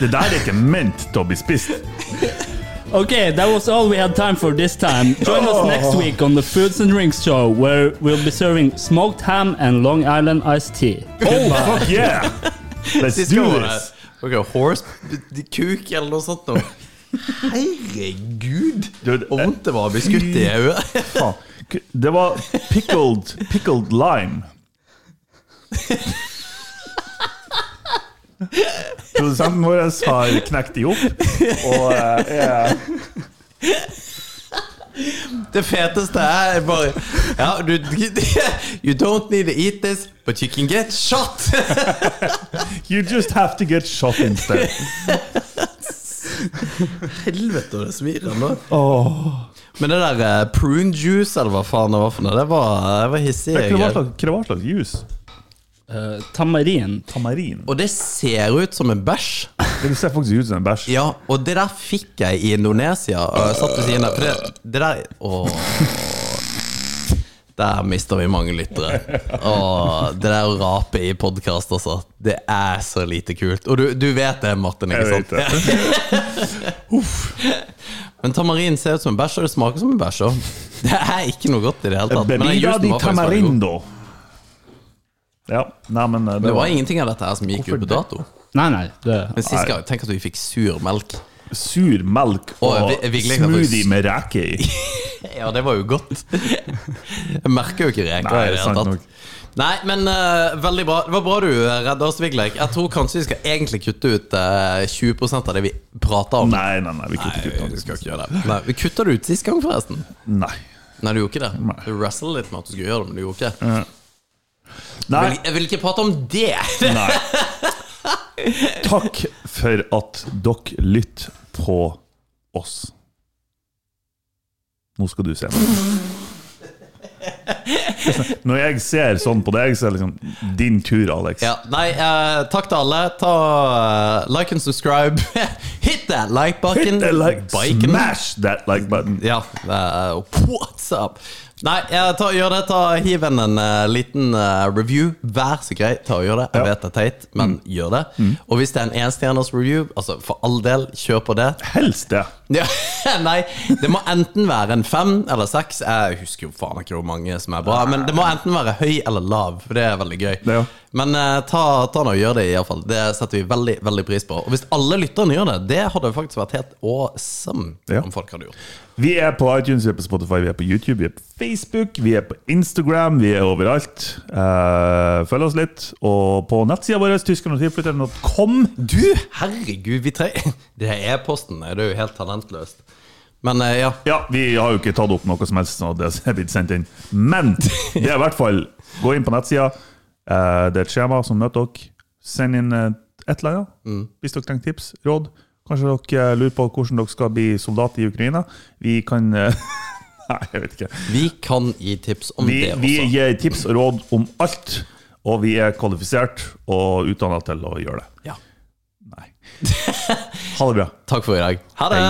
Det der er ikke ment til å bli spist. Okay, that was all we had time for this time. Join us next week on the Foods and Drinks show, where we'll be serving smoked ham and Long Island iced tea. Oh, fuck yeah! Let's De do skal være this! Ok, horse de Kuk eller noe sånt noe. Herregud Du, Og vondt det var å bli skutt i øyet Faen. K- Det var pickled, pickled lime. Produsenten vår har knekt de opp, og eh, er Det feteste er bare Ja, du You don't need to eat this But you can get shot You just have to get shot instead. Helvete, det svir han da Men det der eh, prune juice Eller hva faen det var for noe Det var, det var hissig Hva var greier. slags- hva var slags juice? Uh, tamarin. Tamarin? Og det ser ut som en bæsj Det ser faktisk ut som en bæsj. Ja, og det der fikk jeg i Indonesia. Og jeg satt ved siden av For det, det der Åh. Der mister vi mange lyttere. Åh, det der å rape i podkast, altså. Det er så lite kult. Og du, du vet det, Martin, Jeg ikke vet sant? det. Men tamarin ser ut som en bæsj, og det smaker som en bæsj òg. Det er ikke noe godt i det hele Eh, tatt. Men den Bebida juicen di var faktisk veldig god. tamarindo. Ja, nei, men eh, Det var ingenting av dette her som gikk Hvorfor ut på det? dato. Nei, nei. Det, Men sist gang, tenk at vi fikk sur melk. sur melk og Å, jeg- jeg fikk litt at du- smoothie med reke i. Ja, det var jo godt. Jeg merker jo ikke reker Nei, i det sant hele nok. tatt. Nei, men eh, veldig bra. Det var bra du eh, redda oss, Vigleik. Jeg tror kanskje vi skal egentlig kutte ut eh, 20 av det vi prater om. Nei, nei, nei, vi kutter ikke vi ut skal ikke gjøre det. Nei, vi kutta det ut sist gang, forresten. Nei. Nei, du gjorde ikke det. Nei. Du wrestlet litt med at du skulle gjøre det, men du gjorde ikke det. Jeg Eh, Nei, vil, jeg vil ikke prate om det! nei. Takk for at dere lytter på oss. Nå skal du se meg. Når jeg ser sånn på deg, så er det liksom din tur, Alex. Ja, nei, eh, takk til alle. Ta eh, Like and subscribe. Hit that like-baken. Hit the like, smash that like button. Ja. eh, what's up? Nei, eh, ta, gjør det. Ta, hiv inn en eh, liten eh, review. Vær så grei, ta og gjør det. Jeg Ja. Mm. vet det er teit, men gjør det. Og hvis det er en enstjerners review, altså for all del, kjør på det. Helst det. Ja, nei, det må enten være en fem eller seks. Jeg husker jo faen ikke hvor mange som er bra, men det må enten være høy eller lav, for det er veldig gøy. Ja. Men eh, ta, ta nå og gjør det, iallfall. Det setter vi veldig veldig pris på. Og hvis alle lytterne gjør det, det hadde faktisk vært helt awesome Ja. om folk hadde gjort. Vi er på iTunes, vi er på Spotify, vi er på YouTube, vi er på Facebook, vi er på Instagram, vi er overalt. Eh, følg oss litt. Og på nettsida vår, tyskernogtilflytteren.com Du, herregud, vi trenger Det er posten, det er jo helt talentløst. Men eh, ja. Ja, vi har jo ikke tatt opp noe som helst av det som er blitt sendt inn. Men det er i hvert fall Gå inn på nettsida. Eh, Det er et skjema som møter dere. Send inn eh, et eller annet. Hvis dere trenger tips, råd. Kanskje dere eh, lurer på hvordan dere skal bli soldat i Ukraina. Vi kan eh, Nei, jeg vet ikke. Vi kan gi tips om Vi, Mm. det også. vi gir tips og råd om alt. Og vi er kvalifisert og utdanna til å gjøre det. Ja. Nei. Ha det bra. Takk for i dag. Ha det!